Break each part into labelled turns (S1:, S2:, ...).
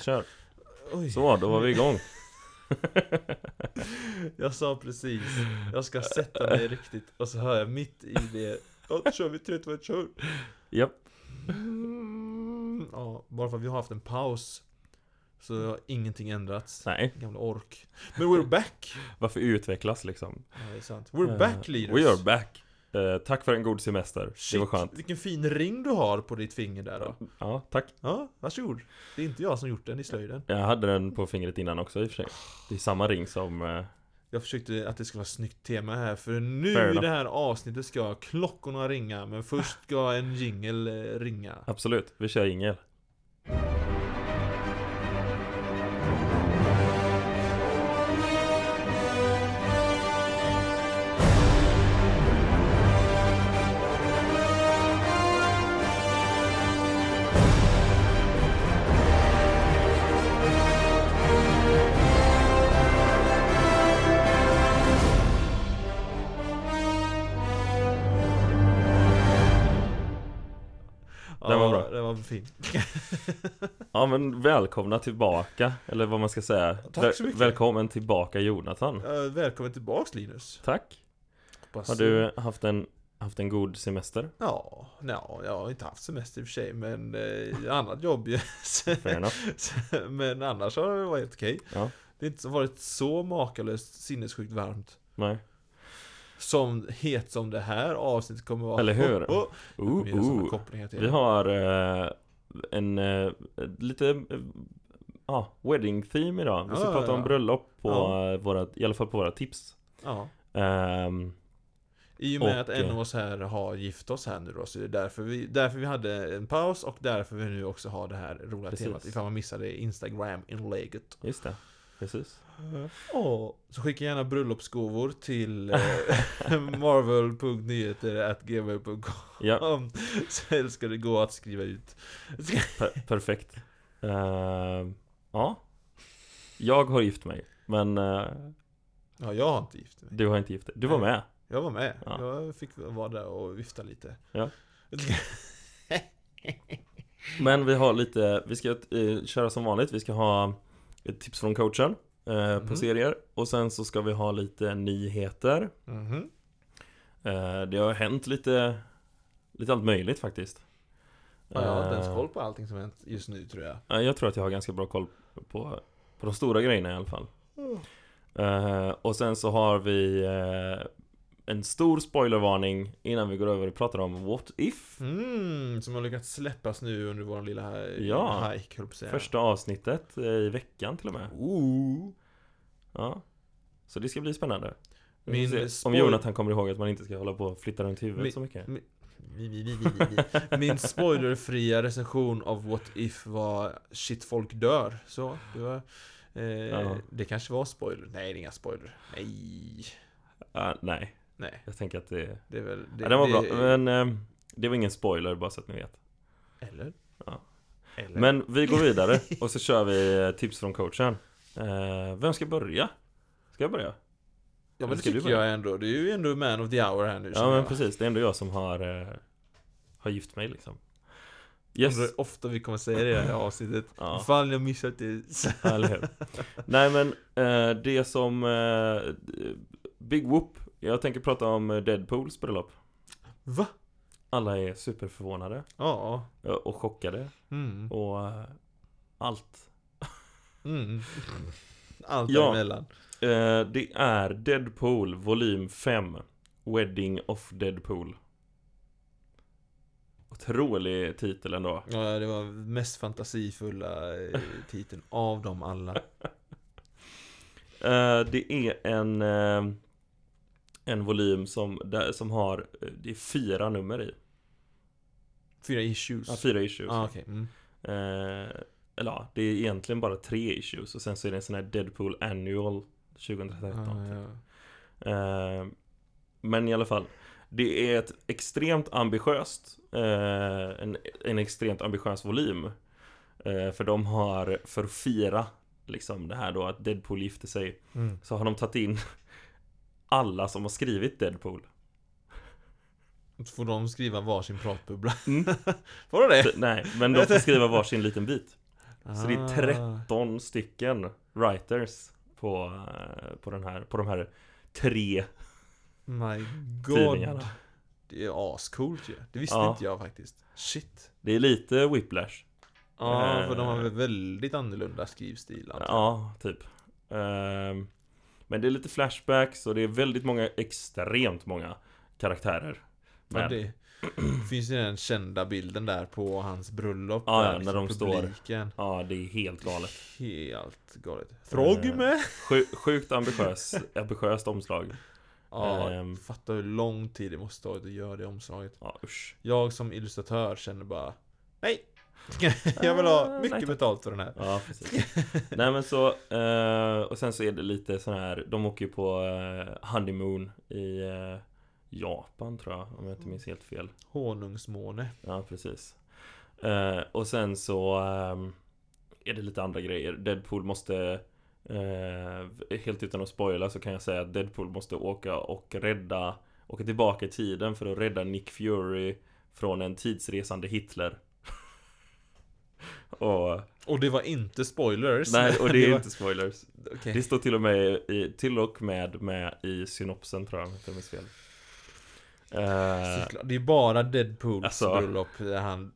S1: Kör!
S2: Oj.
S1: Så, då var vi igång!
S2: Jag sa precis, jag ska sätta mig riktigt och så hör jag mitt i det Ja, då kör vi 3, 2, 1, kör!
S1: Japp!
S2: Mm, Ja, bara för att vi har haft en paus Så har ingenting ändrats
S1: Nej,
S2: Gamla ork Men we're back!
S1: varför utvecklas liksom?
S2: Ja, det är sant We're
S1: Eh,
S2: back Linus!
S1: We are back! Eh, tack för en god semester, det var skönt
S2: vilken fin ring du har på ditt finger där då
S1: Ja, tack
S2: Ja, varsågod Det är inte jag som gjort den i slöjden
S1: Jag hade den på fingret innan också i och för sig Det är samma ring som... eh,
S2: Jag försökte att det skulle vara ett snyggt tema här för nu
S1: Fair
S2: i
S1: enough.
S2: det här avsnittet ska klockorna ringa men först ska en jingel eh, ringa
S1: absolut, vi kör jingel Den var bra.
S2: Det var fin.
S1: Ja men välkomna tillbaka, eller vad man ska säga
S2: Tack så
S1: Väl-
S2: mycket.
S1: Välkommen tillbaka Jonathan
S2: Eh, Välkommen tillbaks Linus.
S1: Tack!
S2: Hoppas-
S1: Har du haft en, haft en god semester?
S2: Ja, no, jag har inte haft semester i och för sig men eh, annat jobb ju.
S1: Fair enough.
S2: men annars har det varit helt okej.
S1: Ja.
S2: Det har inte varit så makalöst sinnessjukt varmt.
S1: Nej.
S2: Som het som det här avsnittet kommer vara.
S1: Eller hur?
S2: Oh, oh.
S1: Ooh,
S2: Det blir
S1: ooh.
S2: sådana kopplingar till
S1: Vi har eh, en eh, lite eh, ja, wedding theme idag. Vi ska
S2: Ja,
S1: prata
S2: ja,
S1: om
S2: ja.
S1: bröllop på
S2: Ja.
S1: eh, våra, i alla fall på våra tips.
S2: Ja.
S1: Ehm,
S2: I och med
S1: Och,
S2: att en
S1: eh,
S2: av oss här har gift oss här nu då så det är därför vi, därför vi hade en paus och därför vi nu också har det här roliga
S1: Precis.
S2: temat ifall man missade Instagram-inlägget.
S1: just det. Precis.
S2: Åh, Så skicka gärna bröllopsgåvor till eh, marvel.nyheter.gmail.com
S1: Ja,
S2: Så ska det gå att skriva ut.
S1: per perfekt. Ehm, ja. Jag har gift mig. Men eh,
S2: Ja, jag har inte gift mig.
S1: du har inte gift dig. Du var
S2: Nej.
S1: med.
S2: Jag var med.
S1: Ja.
S2: Jag fick vara där och vifta lite.
S1: Ja. Men vi har lite, vi ska eh, köra som vanligt. Vi ska ha ett tips från coachen eh, på
S2: Mhm.
S1: serier. Och sen så ska vi ha lite nyheter.
S2: Mhm.
S1: Eh, Det har hänt lite, lite allt möjligt faktiskt.
S2: Ja, jag har inte
S1: Eh,
S2: ens koll på allting som hänt just nu tror jag.
S1: ja, Jag tror att jag har ganska bra koll på, på de stora grejerna i alla fall.
S2: Mm.
S1: Eh, Och sen så har vi eh, en stor spoilervarning innan vi går över och pratar om What If.
S2: Mm, som har lyckats släppas nu under vår lilla
S1: Ja.
S2: hike, höll jag på att säga.
S1: Första avsnittet eh, i veckan till och med.
S2: Ooh.
S1: Ja. Så det ska bli spännande. Vi
S2: Min
S1: får se Om
S2: spoil-
S1: Jonathan kommer ihåg att man inte ska hålla på och flytta runt huvudet
S2: Min-
S1: så mycket.
S2: Vi, vi, vi, vi, vi. Min spoilerfria recension av What If var Shit folk dör. Så, det var... Eh,
S1: Ja.
S2: Det kanske var spoiler. Nej, det är inga spoiler. Nej.
S1: Ah, nej,
S2: Nej,
S1: jag tänker att det...
S2: det är väl...
S1: ja, den var bra, men eh, det var ingen spoiler bara så att ni vet.
S2: Eller?
S1: Ja.
S2: Eller?
S1: Men vi går vidare och så kör vi eh, tips från coachen eh, Vem ska börja? Ska jag börja?
S2: ja, men det
S1: ska du
S2: tycker
S1: börja?
S2: jag ändå. Du är ju ändå man of the hour här nu.
S1: Ja
S2: känner
S1: men
S2: jag.
S1: precis, det är ändå jag som har eh, Har gift mig liksom
S2: Undrar
S1: Yes,
S2: hur ofta vi kommer säga det i det här avsnittet.
S1: ja,
S2: Fan, jag missat det. Så-
S1: eller hur? Nej men eh, det som eh, Big Whoop Jag tänker prata om Deadpools bröllop
S2: Va?
S1: Alla är superförvånade
S2: Ja.
S1: eh, och chockade
S2: Mm.
S1: och eh, allt
S2: Mm. Allt
S1: Ja.
S2: däremellan.
S1: Eh, Det är Deadpool volym 5 Wedding of Deadpool Otrolig titel ändå
S2: Ja, det var mest fantasifulla eh, titeln av dem alla.
S1: Eh, Det är en eh, En volym som, där, som har eh, Det är fyra nummer i
S2: Fyra issues.
S1: ja, Fyra issues
S2: ah, okej. Mm.
S1: Eh, Eller ja, det är egentligen bara tre issues Och sen så är det en sån här Deadpool Annual 2013
S2: Ah,
S1: typ.
S2: ja.
S1: Eh, men i alla fall. Det är ett extremt ambitiöst, eh, en, en extremt ambitiös volym. Eh, för de har, för att fira liksom det här då att Deadpool gifte sig,
S2: mm.
S1: så har de tagit in alla som har skrivit Deadpool.
S2: Så får de skriva varsin pratbubbla.
S1: Mm.
S2: får de det?
S1: Så, nej, men de får skriva varsin liten bit. Så det
S2: Ah.
S1: är 13 stycken writers på, eh, på, den här, på de här tre
S2: My god.
S1: tidningarna.
S2: Det är ascoolt ju. Det visste
S1: Ja.
S2: inte jag faktiskt. Shit.
S1: Det är lite whiplash.
S2: Ja,
S1: Eh.
S2: för de har väl väldigt annorlunda skrivstil. antar jag.
S1: Ja, typ. Ehm, men det är lite flashbacks och det är väldigt många, extremt många karaktärer.
S2: Men
S1: med.
S2: det finns ju den kända bilden där på hans bröllop. Ja,
S1: ja,
S2: där liksom,
S1: när de står.
S2: publiken.
S1: Ja, det är helt galet. Eh,
S2: Helt galet. Frogge med!
S1: Sju- Sjukt ambitiös, ambitiöst omslag.
S2: Ja,
S1: Ehm.
S2: fatta hur lång tid det måste ta att göra det omslaget.
S1: Ja, usch.
S2: Jag som illustratör känner bara Nej! Jag vill ha
S1: Ah, nej, tack.
S2: mycket betalt för den här.
S1: Ja, precis. Nej men så, eh, och sen så är det lite sån här, de åker ju på eh, honeymoon i eh, Japan tror jag, om jag inte minns helt fel.
S2: Honungsmåne.
S1: Ja, precis. Eh, och sen så ehm, är det lite andra grejer. Deadpool måste, eh, helt utan att spoila så kan jag säga att Deadpool måste åka och rädda, åka tillbaka i tiden för att rädda Nick Fury från en tidsresande Hitler. och,
S2: Och det var inte spoilers.
S1: nej, och det är
S2: var-
S1: inte spoilers.
S2: Okej.
S1: Det står till och med i, till och med, med i synopsen tror jag, om jag inte minns fel. Eh,
S2: Såklart, Det är bara Deadpools
S1: Alltså.
S2: bröllop där han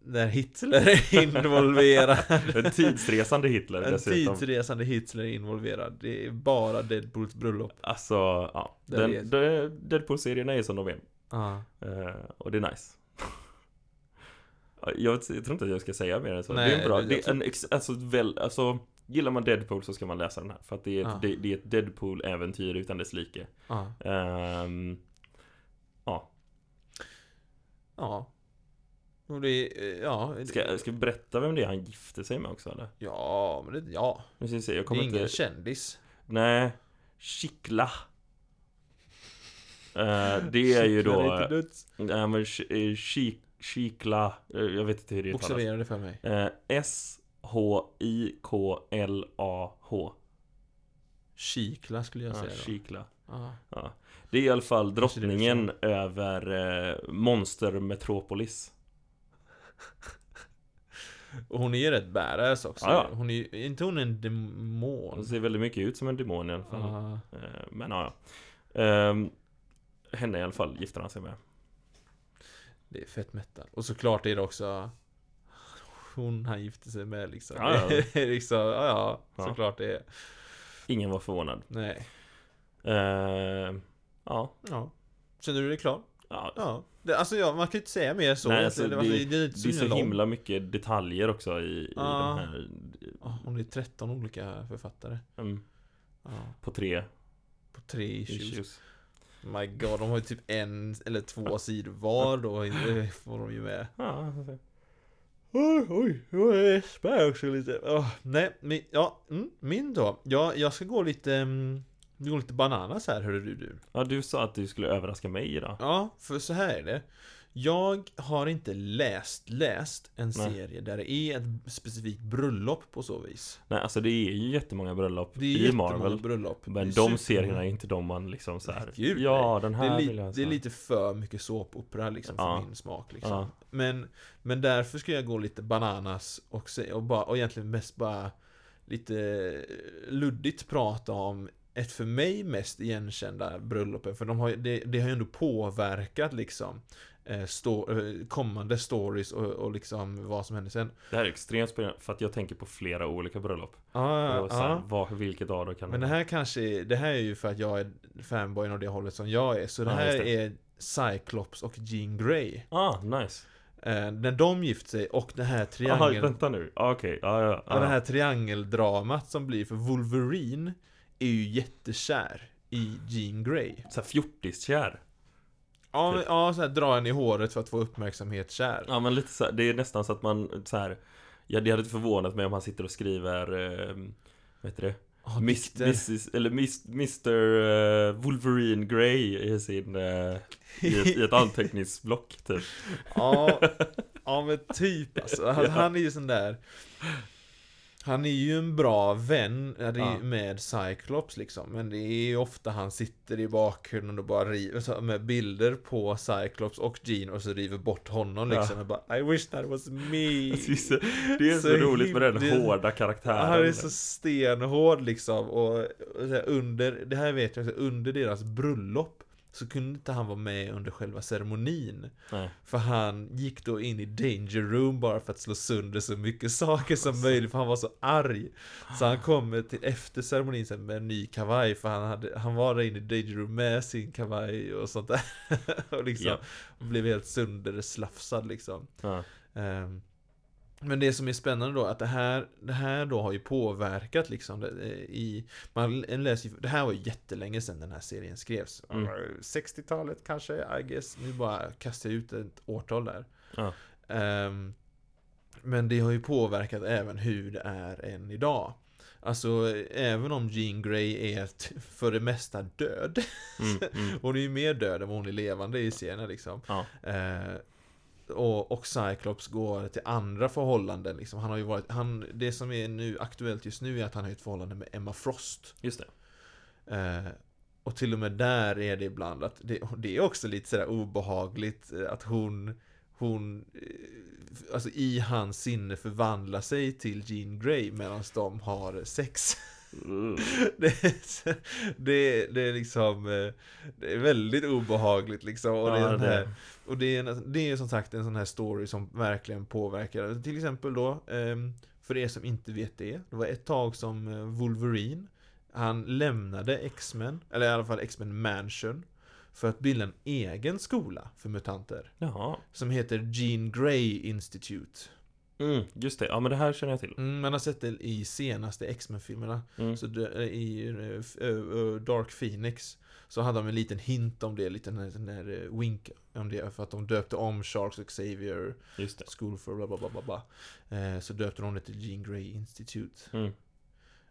S2: Där Hitler är involverad
S1: en tidsresande Hitler
S2: En
S1: dessutom.
S2: tidsresande Hitler är involverad Det är bara Deadpools bröllop
S1: Alltså, ja.
S2: Där är-
S1: Den, de- Deadpool-serierna är som de är.
S2: ah.
S1: Eh, och det är nice. Ja, jag, t- jag tror inte att jag ska säga mer än så. det är
S2: Nej,
S1: en bra.
S2: det-
S1: Det är en ex, alltså, väl, alltså, gillar man Deadpool så ska man läsa den här. För att det är ett,
S2: Ja.
S1: det, det är ett Deadpool-äventyr utan dess like.
S2: ah.
S1: Ehm,
S2: Ja Och det är, eh, ja det-
S1: ska, jag- ska jag berätta vem det är han gifte sig med också eller?
S2: Ja, men det, ja
S1: Nu ska vi se, jag
S2: Det är
S1: kommer
S2: ingen
S1: inte...
S2: kändis
S1: Nej, Chikla. Eh, det är ju
S2: Hitler
S1: då...
S2: till döds.
S1: Nej men Chi- eh, Chi- Chikla, eh, jag vet inte hur det uttalas.
S2: Observera det för mig
S1: Eh, S-H-I-K-L-A-H.
S2: Kikla skulle jag
S1: Ja,
S2: säga då.
S1: Chikla.
S2: Ah.
S1: Det är i alla fall
S2: Kanske det är
S1: drottningen över eh, monstermetropolis.
S2: Och hon är ju rätt badass också
S1: Ja, ja. Mm.
S2: Hon är ju- är inte hon en demon?
S1: Hon ser väldigt mycket ut som en demon i alla fall.
S2: Ah.
S1: Eh, men ja, ja. Ehm, henne i alla fall gifter han sig med.
S2: Det är fett metal. Och såklart är det också hon han gifte sig med liksom.
S1: Ja, ja.
S2: Det är liksom, ja, ja,
S1: Ja.
S2: såklart det är.
S1: Ingen var förvånad.
S2: Nej.
S1: Ehm, ja,
S2: Ja. Känner du dig klar?
S1: ja.
S2: Ja. Det, alltså ja, man kan ju inte säga mer så.
S1: Nej, alltså,
S2: det,
S1: det-
S2: är
S1: Det är så himla mycket detaljer också i, i
S2: Ja.
S1: de här...
S2: Ja, Hon är 13 olika författare.
S1: mm,
S2: Ja.
S1: på tre
S2: På tre issues.
S1: issues.
S2: My god, de har ju typ en eller två sidor var då. Det får de ju med.
S1: Ja,
S2: Oj, oj, jag spär också lite. Åh, nej, min, ja, mm, min då. Jag, jag ska gå lite, mm, gå lite bananas här, hörru du, du.
S1: ja, du sa att du skulle överraska mig idag.
S2: Ja, för så här är det. Jag har inte läst, läst en
S1: Nej.
S2: serie där det är ett specifikt bröllop på så vis.
S1: Nej, alltså det är ju jättemånga bröllop
S2: Det är
S1: i
S2: jättemånga
S1: Marvel.
S2: bröllop.
S1: Men
S2: Det är
S1: de
S2: supermånga.
S1: serierna är inte de man liksom så här.
S2: Nej, gud,
S1: ja, den här
S2: det är,
S1: vill jag
S2: li-
S1: ha
S2: det
S1: så
S2: är
S1: här."
S2: lite för mycket såpopera liksom för
S1: Ja.
S2: min smak liksom.
S1: Ja.
S2: Men, men därför ska jag gå lite bananas och, se, och, bara, och egentligen mest bara lite luddigt prata om ett för mig mest igenkända bröllopen för de har, ju- det, det har ju ändå påverkat liksom eh, sto, eh, kommande stories och, och liksom vad som händer sen.
S1: Det här är extremt spännande för att jag tänker på flera olika bröllop.
S2: Ah,
S1: och så här, vad, vilket av dem kan
S2: Men det här kanske, är- det här är ju för att jag är fanboyen av det hållet som jag är. Så det
S1: Ja,
S2: här
S1: just det.
S2: är Cyclops och Jean Grey.
S1: Ah, nice.
S2: Eh, när de gift sig och det här
S1: Jaha,
S2: triangel...
S1: vänta nu. Ah, Okej, ja, ja,
S2: ja, det
S1: ja.
S2: här triangeldramat som blir för Wolverine är ju jättekär i Jean Grey.
S1: Så här fjortiskär.
S2: Ja,
S1: Typ.
S2: men, ja så här, dra en i håret för att få uppmärksamhet kär.
S1: Ja, men lite så här, det är nästan så att man så här. Ja, det hade inte förvånat mig om han sitter och skriver, eh, vad heter det?
S2: Ja,
S1: Miss,
S2: dikter.
S1: Mrs, eller Miss, Mr eh, Wolverine Grey i sin, eh, i, ett, i ett anteckningsblock typ.
S2: Ja, ja men typ alltså. Han,
S1: Ja.
S2: han är ju sån där Han är ju en bra vän är det
S1: Ja.
S2: med Cyclops liksom. Men det är ju ofta han sitter i bakgrunden och bara river så här med bilder på Cyclops och Jean och så river bort honom
S1: Ja.
S2: liksom. Och bara I wish that was me.
S1: Precis. Det är så,
S2: Så
S1: roligt med den
S2: himla-
S1: hårda karaktären.
S2: Han är så stenhård liksom. Och, och så här, under, det här vet jag också, under deras bröllop så kunde inte han vara med under själva ceremonin.
S1: Nej.
S2: För han gick då in i danger room bara för att slå sönder så mycket saker som möjligt för han var så arg. Så han kommer till efter ceremonin sen med en ny kavaj för han, hade, han var där inne i danger room med sin kavaj och sånt där. och liksom
S1: Ja.
S2: och blev helt sönderslafsad liksom.
S1: Ja.
S2: Ehm, Men det som är spännande då är att det här, det här då har ju påverkat liksom det, eh, i... Man läser ju, det här var ju jättelänge sedan den här serien skrevs.
S1: Mm.
S2: 60-talet kanske, I guess. Nu bara kastar jag ut ett årtal där.
S1: Ja.
S2: Ehm, men det har ju påverkat även hur det är än idag. Alltså, även om Jean Grey är t- för det mesta död.
S1: Mm, mm.
S2: Hon är ju mer död än vad hon är levande i serien liksom.
S1: Ja.
S2: Eh, och, och Cyclops går till andra förhållanden liksom. Han har ju varit, han, det som är nu aktuellt just nu är att han har ett förhållande med Emma Frost.
S1: Just det.
S2: Eh, och till och med där är det ibland att det, det är också lite sådär obehagligt eh, att hon, hon, eh, alltså i hans sinne förvandlar sig till Jean Grey medan de har sex. Det, är så- det, det är liksom eh, Det är väldigt obehagligt liksom och, det
S1: Ja,
S2: är det.
S1: det-
S2: Här, och det, är en, det är som sagt en sån här story som verkligen påverkar Till exempel då ehm, För er som inte vet det Det var ett tag som eh, Wolverine Han lämnade X-Men Eller i alla fall X-Men Mansion För att bilda en egen skola för mutanter
S1: Jaha.
S2: Som heter Jean Grey Institute
S1: Mm, just det. Ja, men det här känner jag till.
S2: mm, Man har sett det i senaste X-Men-filmerna
S1: Mm.
S2: så det- i eh, f- eh, eh, Dark Phoenix så hade de en liten hint om det, en liten eh, sån här, eh, wink om det. För att de döpte om Sharks och Xavier
S1: Just det.
S2: School for bla bla bla bla bla. Eh, Så döpte de det till Jean Grey Institute.
S1: Mm.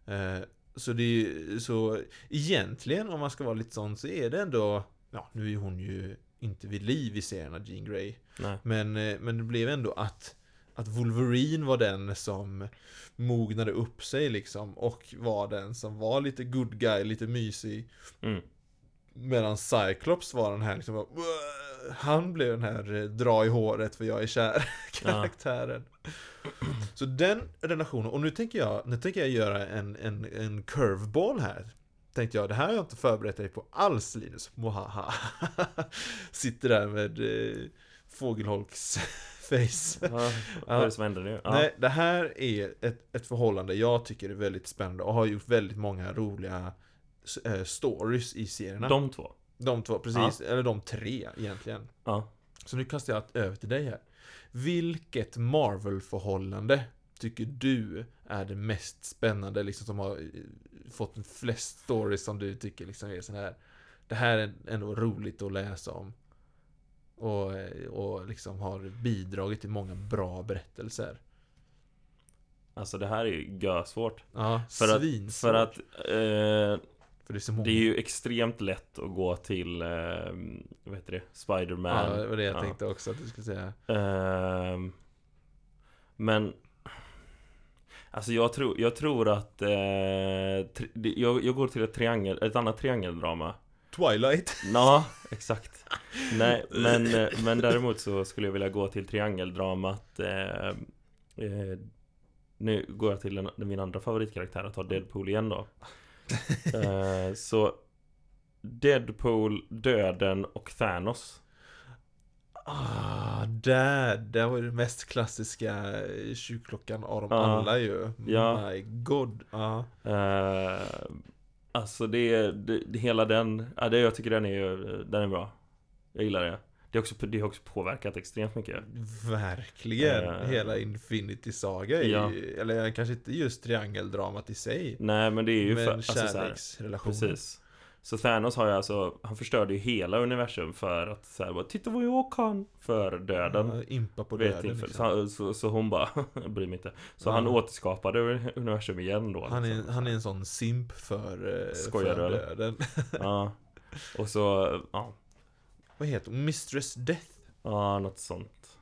S2: Eh, Så det är ju, så egentligen om man ska vara lite sån så är det ändå, ja nu är hon ju inte vid liv i serierna Jean Grey.
S1: Nej.
S2: Men, eh, men det blev ändå att att Wolverine var den som mognade upp sig liksom och var den som var lite good guy, lite mysig.
S1: Mm.
S2: Medan Cyclops var den här liksom, bara, "Wah!" han blev den här eh, dra i håret för jag är kär karaktären. Så den relationen, och nu tänker jag, nu tänker jag göra en, en, en curveball här. Tänkte jag, det här har jag inte förberett dig på alls Linus, mohaha. Sitter där med eh, fågelholks face.
S1: Ja, vad är det som händer nu? Ja.
S2: Nej, det här är ett, ett förhållande jag tycker är väldigt spännande och har gjort väldigt många roliga eh, stories i serierna. De,
S1: De två.
S2: två, precis. Eller de tre egentligen.
S1: Ja.
S2: Så nu kastar jag över till dig här. Vilket Marvel-förhållande tycker du är det mest spännande, liksom som har eh, fått flest stories som du tycker liksom är sån här. Det här är ändå roligt att läsa om. Och, eh, och liksom har bidragit till många bra berättelser.
S1: Alltså det här är ju gösvårt.
S2: Ja,
S1: För att-
S2: svinsvårt.
S1: För att eh,
S2: För det är så många.
S1: det är ju extremt lätt att gå till, eh, vad heter det,
S2: ja,
S1: Spiderman.
S2: det var det jag
S1: ja.
S2: tänkte också att du skulle säga.
S1: Ehm, men Alltså jag tror, jag tror att eh, tri, det- jag, jag går till ett, triangel, ett annat triangeldrama
S2: Twilight.
S1: Ja, exakt Nej, men, eh, men däremot så skulle jag vilja gå till triangeldramat eh, eh, Nu går jag till en, min andra favoritkaraktär och tar Deadpool igen då eh, Så Deadpool, Döden och Thanos
S2: Ah, där! Där var ju den mest klassiska eh, tjuvklockan av dem
S1: Ja.
S2: alla ju.
S1: Ja.
S2: My god. Ja.
S1: Eh, alltså det är det, det, hela den, ja, det, jag tycker den är, den är bra. Jag gillar det. Det har också, det har också påverkat extremt mycket.
S2: Verkligen.
S1: Eh.
S2: Hela Infinity Saga är
S1: Ja.
S2: ju, eller kanske inte just triangeldramat i sig.
S1: Nej men det är ju
S2: men
S1: för, alltså, så här,
S2: kärleksrelationen.
S1: Precis. Så Thanos har ju alltså, han förstörde ju hela universum för att så här, bara, titta vad jag kan! För döden.
S2: Ja, impa på
S1: vid ett
S2: döden.
S1: tillfälle.
S2: liksom.
S1: så, han- så, så hon bara, jag bryr mig inte. Så
S2: Ja.
S1: han återskapade universum igen då.
S2: Han, är,
S1: liksom.
S2: han är en sån simp för, eh,
S1: Skojar
S2: för
S1: du,
S2: döden.
S1: Ja. Och så, ja,
S2: Vad heter hon? Mistress Death?
S1: ja något sånt.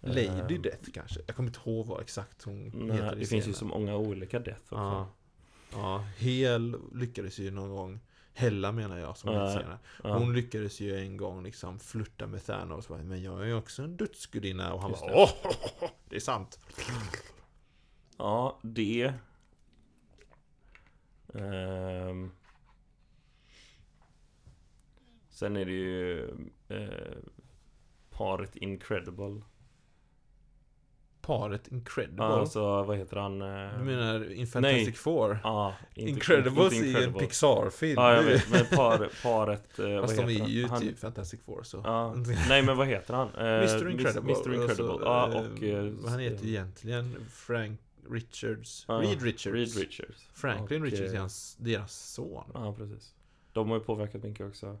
S2: Lady
S1: Ehm,
S2: Death kanske? Jag kommer inte ihåg vad exakt hon
S1: nej,
S2: heter i
S1: Det finns ju
S2: serien.
S1: så många olika Death också.
S2: Ja. Ja, Hel lyckades ju någon gång Hella menar jag som
S1: Ja,
S2: hon senare.
S1: Ja.
S2: Hon lyckades ju en gång liksom flirta med Thanos bara, Men jag är ju också en dödsgudinna och han
S1: Just
S2: bara Åh! Det är sant!
S1: Ja, det. Ehm. Sen är det ju eh, paret Incredible.
S2: Paret Incredible
S1: Alltså, vad heter han? Eh,
S2: Du menar in Fantastic
S1: Nej.
S2: Four?
S1: Ja, inte-
S2: Incredibles
S1: inte
S2: är ju en
S1: Incredible.
S2: Pixar-film
S1: Ja, jag vet. Men par, paret... Eh,
S2: Fast
S1: vad
S2: de
S1: heter
S2: är
S1: han?
S2: ju
S1: han?
S2: typ Fantastic Four så
S1: Ja. Nej, men vad heter han? Eh,
S2: Mr
S1: Mis-
S2: Incredible.
S1: Mr Incredible.
S2: Alltså,
S1: ja,
S2: eh,
S1: och... eh,
S2: vad han heter ju egentligen Frank Richards.
S1: Ja,
S2: Reed Richards.
S1: Reed Richards.
S2: Franklin
S1: Och,
S2: Richards är
S1: eh,
S2: hans, deras son.
S1: Ja, precis. De har ju påverkat mycket också.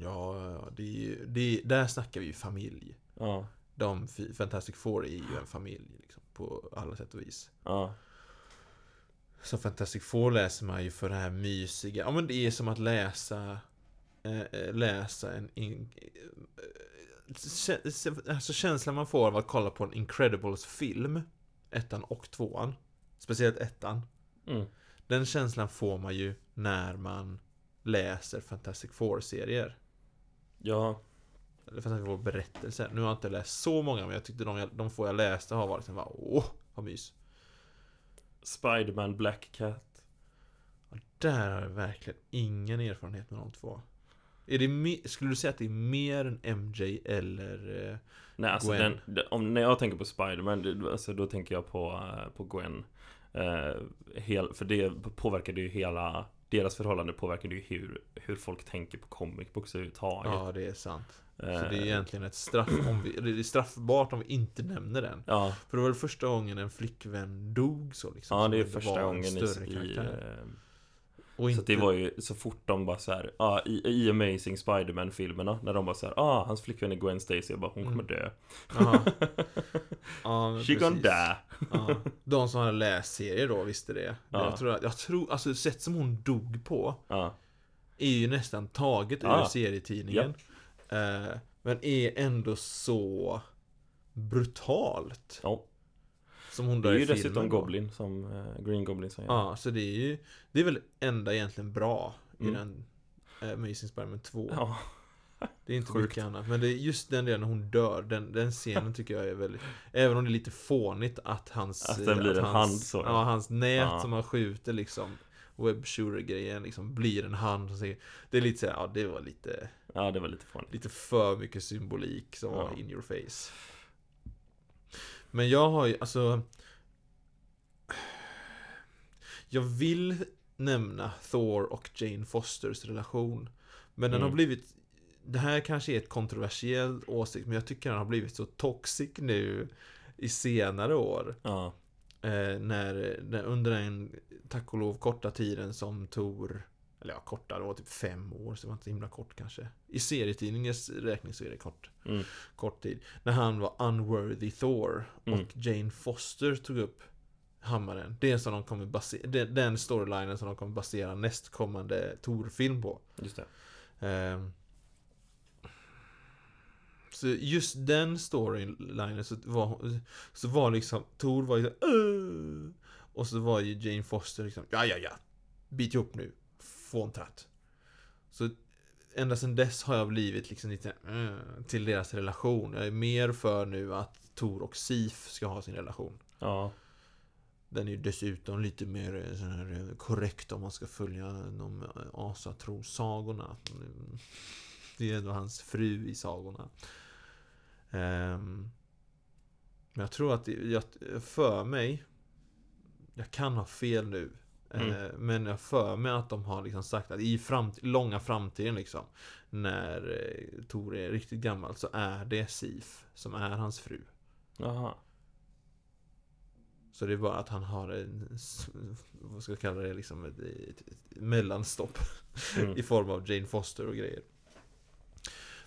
S2: Ja, ja, det är ju, det är, där snackar vi ju familj.
S1: Ja,
S2: De fi- Fantastic Four är ju en familj liksom, på alla sätt och vis.
S1: ja,
S2: Så Fantastic Four läser man ju för det här mysiga. Ja men det är som att läsa eh, eh, läsa en... In, eh, kä- se- alltså känslan man får av att kolla på en Incredibles-film. Ettan och tvåan. Speciellt ettan.
S1: mm,
S2: Den känslan får man ju när man läser Fantastic Four-serier.
S1: ja,
S2: Eller Fantastic Four-berättelser. Nu har jag inte läst så många men jag tyckte de, jag- de få jag läste har varit en bara åh, vad mys.
S1: Spiderman, Black Cat.
S2: Där har jag verkligen ingen erfarenhet med de två. Är det me- skulle du säga att det är mer än MJ eller... eh,
S1: Nej, alltså
S2: Gwen.
S1: den, den, om, när jag tänker på Spiderman, det- alltså, då tänker jag på, eh, på Gwen. Eh, hel, för det påverkade ju hela, deras förhållande påverkade ju hur, hur folk tänker på comic books överhuvudtaget.
S2: Ja, det är sant. Så
S1: Eh,
S2: det är egentligen ett straff om vi... eller Det är straffbart om vi inte nämner den.
S1: Ja,
S2: För det var väl första gången en flickvän dog så liksom.
S1: ja
S2: som
S1: det är
S2: inte var
S1: första
S2: en
S1: gången i...
S2: större
S1: i
S2: karaktär.
S1: eh,
S2: Och
S1: så att det var ju så fort de bara så här, ja, i, i Amazing Spiderman filmerna när de bara så här, ah, hans flickvän är Gwen Stacy, jag bara hon kommer
S2: Mm.
S1: dö.
S2: Jaha. Ja, men
S1: She gonna
S2: precis.
S1: die.
S2: Ja. De som hade läst serier då visste det.
S1: Ja.
S2: Jag tror, att- jag tror, alltså sätt som hon dog på
S1: Ja,
S2: är ju nästan taget
S1: Ja.
S2: ur serietidningen. Eh, men är ändå så brutalt
S1: ja.
S2: som hon
S1: Det
S2: dör
S1: är
S2: i
S1: ju
S2: filmen.
S1: dessutom
S2: då.
S1: Goblin som, eh, Green Goblin som gör.
S2: Ja, så det är ju, det är väl enda egentligen bra
S1: Mm.
S2: i den eh, Amazing Spiderman 2.
S1: ja.
S2: Det är inte
S1: Sjukt.
S2: mycket annat. Men det är just den delen när hon dör, den, den scenen tycker jag är väldigt... Även om det är lite fånigt att hans...
S1: Att den
S2: eh,
S1: blir en
S2: hans,
S1: hand så, ja.
S2: Ja, hans nät
S1: Ja.
S2: som han skjuter liksom. Webshooter-grejen liksom blir en hand. Och så, det är lite såhär, ja det var lite,
S1: Ja, det var lite fånigt.
S2: lite för mycket symbolik som var
S1: Ja.
S2: in your face. Men jag har ju, alltså... Jag vill nämna Thor och Jane Fosters relation. Men den
S1: Mm.
S2: har blivit Det här kanske är ett kontroversiell åsikt men jag tycker den har blivit så toxic nu I senare år
S1: Ja,
S2: eh, när, när Under den tack och lov korta tiden som Tor Eller ja korta, det var typ fem år så det var inte så himla kort kanske I serietidningens räkning så är det kort
S1: mm,
S2: kort tid. När han var unworthy Thor
S1: Mm.
S2: och Jane Foster tog upp hammaren. Det är som de kommer basera, den, den storylinen som de kommer basera nästkommande Thor-film på.
S1: just det.
S2: Ehm. Så just den storylinen så var, hon- så var liksom Tor var ju så, "Åh!" Och så var ju Jane Foster liksom Ja ja ja Bit ihop nu Få en tratt Så ända sedan dess har jag blivit liksom lite "Mm", Till deras relation Jag är mer för nu att Tor och Sif ska ha sin relation
S1: Ja,
S2: Den är ju dessutom lite mer eh, sån här eh, korrekt om man ska följa de eh, asatro-sagorna. Mm. Det är ändå hans fru i sagorna. Ehm, Men jag tror att, det- jag, för mig, jag kan ha fel nu.
S1: Mm.
S2: eh, Men jag för mig att de har liksom sagt att i framt, långa framtiden liksom När eh, Tor är riktigt gammal så är det Sif som är hans fru.
S1: jaha.
S2: Så det är bara att han har en, s- vad ska jag kalla det, liksom ett, ett, ett mellanstopp i
S1: Mm.
S2: form av Jane Foster och grejer.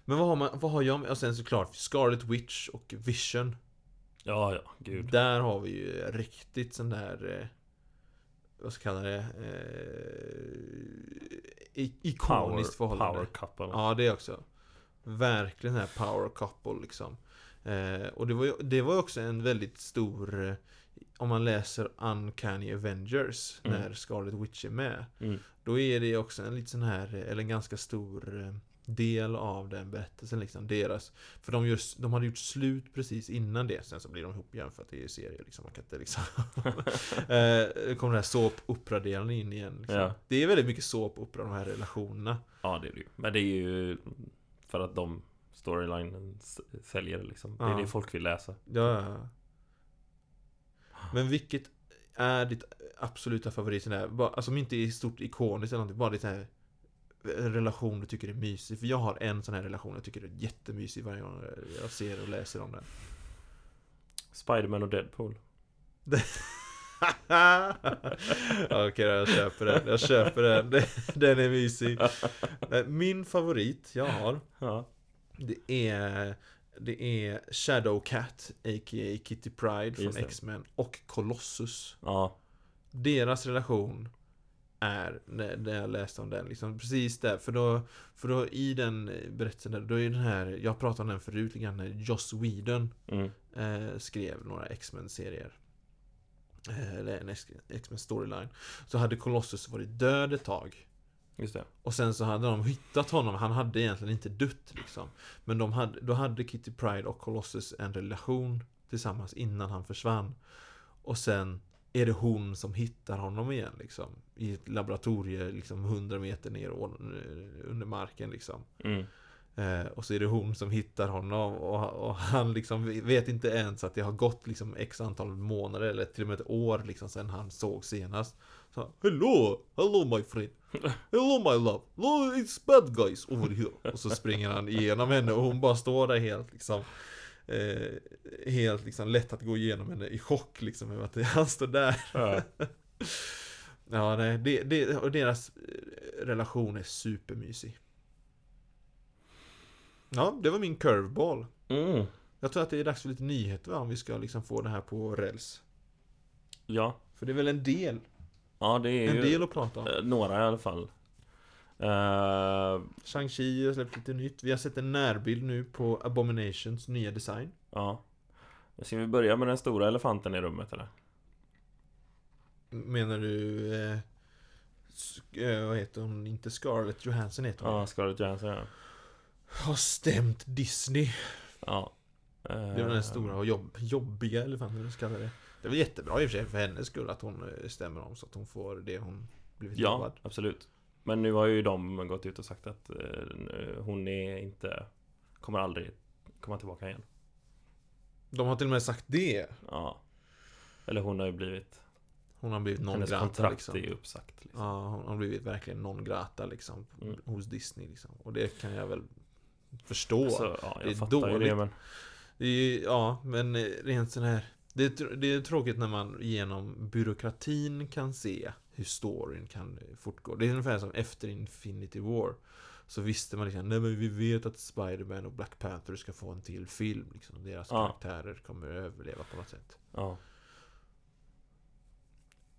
S2: Men vad har, man, vad har jag med, och sen såklart Scarlet Witch och Vision.
S1: Ja, ja, gud.
S2: Där har vi ju riktigt sån där, eh, vad ska jag kalla det, eh, i-
S1: Power,
S2: ikoniskt förhållande.
S1: power couple.
S2: Ja, det också. Verkligen den här power couple liksom. Eh, och det var ju det var ju också en väldigt stor eh, Om man läser Uncanny Avengers
S1: Mm.
S2: när Scarlet Witch är med
S1: Mm.
S2: Då är det också en lite sån här, eh, eller en ganska stor eh, Del av den berättelsen liksom, deras För de, just, de hade gjort slut precis innan det Sen så blir de ihop igen för att det är serier liksom, man kan inte liksom eh, Kommer den här såpoperadelen in igen liksom.
S1: Ja.
S2: Det är väldigt mycket såpopera, de här relationerna
S1: Ja, det är det ju. Men det är ju för att de storylinen s- säljer det liksom. Det är
S2: Ja.
S1: det folk vill läsa.
S2: Ja, ja, ja. Men vilket är ditt absoluta favorit? sån där, bara- Alltså som inte är stort ikoniskt eller någonting, bara ditt här en relation du tycker är mysig. För jag har en sån här relation jag tycker är jättemysig varje gång jag ser och läser om den.
S1: Spiderman och Deadpool.
S2: Okej då, jag köper den. Jag köper den. Den är mysig. Nej, Min favorit jag har,
S1: Ja.
S2: det är, det är Shadowcat, a.k.a. Kitty Pride
S1: Just
S2: från
S1: det.
S2: X-Men och Colossus.
S1: Ja.
S2: deras relation är, när när jag läste om den, liksom precis där. För då, för då i den berättelsen, där, då är den här, jag pratade om den förut lite grann, när Joss Whedon
S1: Mm.
S2: eh, skrev några X-Men-serier. Eh, Eller en X- X-Men-storyline. Så hade Colossus varit död ett tag.
S1: Just det.
S2: Och sen så hade de hittat honom, han hade egentligen inte dött liksom. Men de hade, då hade Kitty Pride och Colossus en relation tillsammans innan han försvann. Och sen är det hon som hittar honom igen liksom. I ett laboratorium liksom 100 meter ner ovan- under marken liksom.
S1: Mm.
S2: Eh, och så är det hon som hittar honom och, och han liksom vet inte ens att det har gått liksom x antal månader eller till och med ett år liksom sen han såg senast. Så han, hello, hello my friend, hello my love, no, it's bad guys over here. Och så springer han igenom henne och hon bara står där helt liksom eh, Helt liksom lätt att gå igenom henne i chock liksom över att han står där.
S1: Ja.
S2: Ja, nej, det, det, och deras eh, relation är supermysig. Ja, det var min curveball.
S1: Mm.
S2: Jag tror att det är dags för lite nyheter va, om vi ska liksom få det här på räls.
S1: Ja.
S2: För det är väl en del,
S1: Ja, det är
S2: en
S1: ju
S2: del att prata om.
S1: eh, några i alla fall. Eh,
S2: Shang-Chi har släppt lite nytt. Vi har sett en närbild nu på Abominations nya design.
S1: ja. Ska vi börja med den stora elefanten i rummet eller?
S2: Menar du... Eh, sk- eh, vad heter hon? Inte Scarlett Johansson heter hon.
S1: Ja, Scarlett Johansson ja.
S2: Har stämt Disney.
S1: ja. Eh,
S2: Det var den stora och jobb, jobbiga elefanten, eller vad ska kalla det. Det var jättebra i och för sig för hennes skull att hon eh, stämmer om så att hon får det hon blivit
S1: Ja,
S2: lovad.
S1: absolut. Men nu har ju de gått ut och sagt att eh, nu- hon är inte... Kommer aldrig komma tillbaka igen.
S2: De har till och med sagt det.
S1: Ja. Eller hon har ju blivit...
S2: Hon har blivit non
S1: hennes
S2: grata
S1: kontrakt
S2: liksom.
S1: är ju uppsagt. Liksom.
S2: Ja, hon har blivit verkligen non grata liksom.
S1: Mm.
S2: Hos Disney liksom. Och det kan jag väl förstå.
S1: Så, ja, jag
S2: det är
S1: fattar ju det
S2: dåligt.
S1: men...
S2: Det är, ju- ja, men eh, rent sån här. Det är, tr- det är tråkigt när man genom byråkratin kan se hur storyn kan eh, fortgå. Det är ungefär som efter Infinity War. Så visste man liksom, nej men vi vet att Spider-Man och Black Panther ska få en till film. Liksom. Deras
S1: Ja.
S2: karaktärer kommer att överleva på något sätt.
S1: Ja.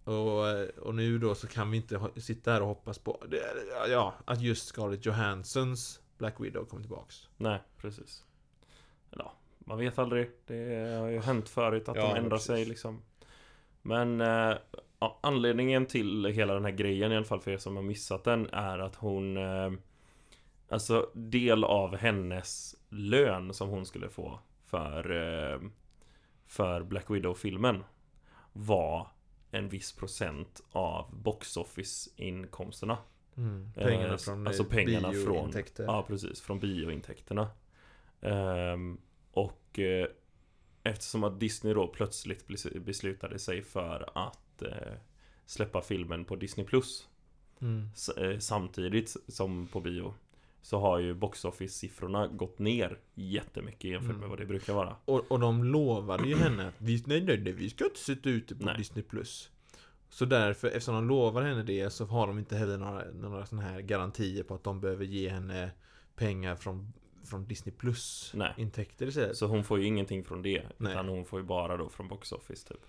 S2: Och, eh, och nu då så kan vi inte ha, sitta här och hoppas på det- ja, att just Scarlett Johanssons Black Widow kommer tillbaks.
S1: Nej, precis. Eller, ja, man vet aldrig. Det har ju hänt förut att
S2: Ja,
S1: de
S2: men
S1: ändrar sig
S2: precis.
S1: liksom. Men eh, ja, anledningen till hela den här grejen i alla fall för er som har missat den är att hon eh, Alltså del av hennes lön som hon skulle få för eh, För Black Widow-filmen Var en viss procent av box office-inkomsterna
S2: Mm.
S1: Eh,
S2: Pengarna från eh,
S1: alltså pengarna från-
S2: biointäkter.
S1: Ja precis, från biointäkterna Ehm, Och eh, Eftersom att Disney då plötsligt bes- beslutade sig för att eh, Släppa filmen på Disney Plus
S2: Mm.
S1: s- eh, Samtidigt som på bio Så har ju box office siffrorna gått ner Jättemycket jämfört med
S2: Mm.
S1: vad det brukar vara
S2: Och, och de lovade ju henne att vi, nej, nej, nej, vi ska inte sitta ute på
S1: Nej.
S2: Disney Plus. Så därför, eftersom de lovar henne det så har de inte heller några, några sådana här garantier på att de behöver ge henne pengar från, från Disney Plus
S1: Nej.
S2: intäkter istället.
S1: Så hon får ju ingenting från det
S2: Nej.
S1: Utan hon får ju bara då från box office typ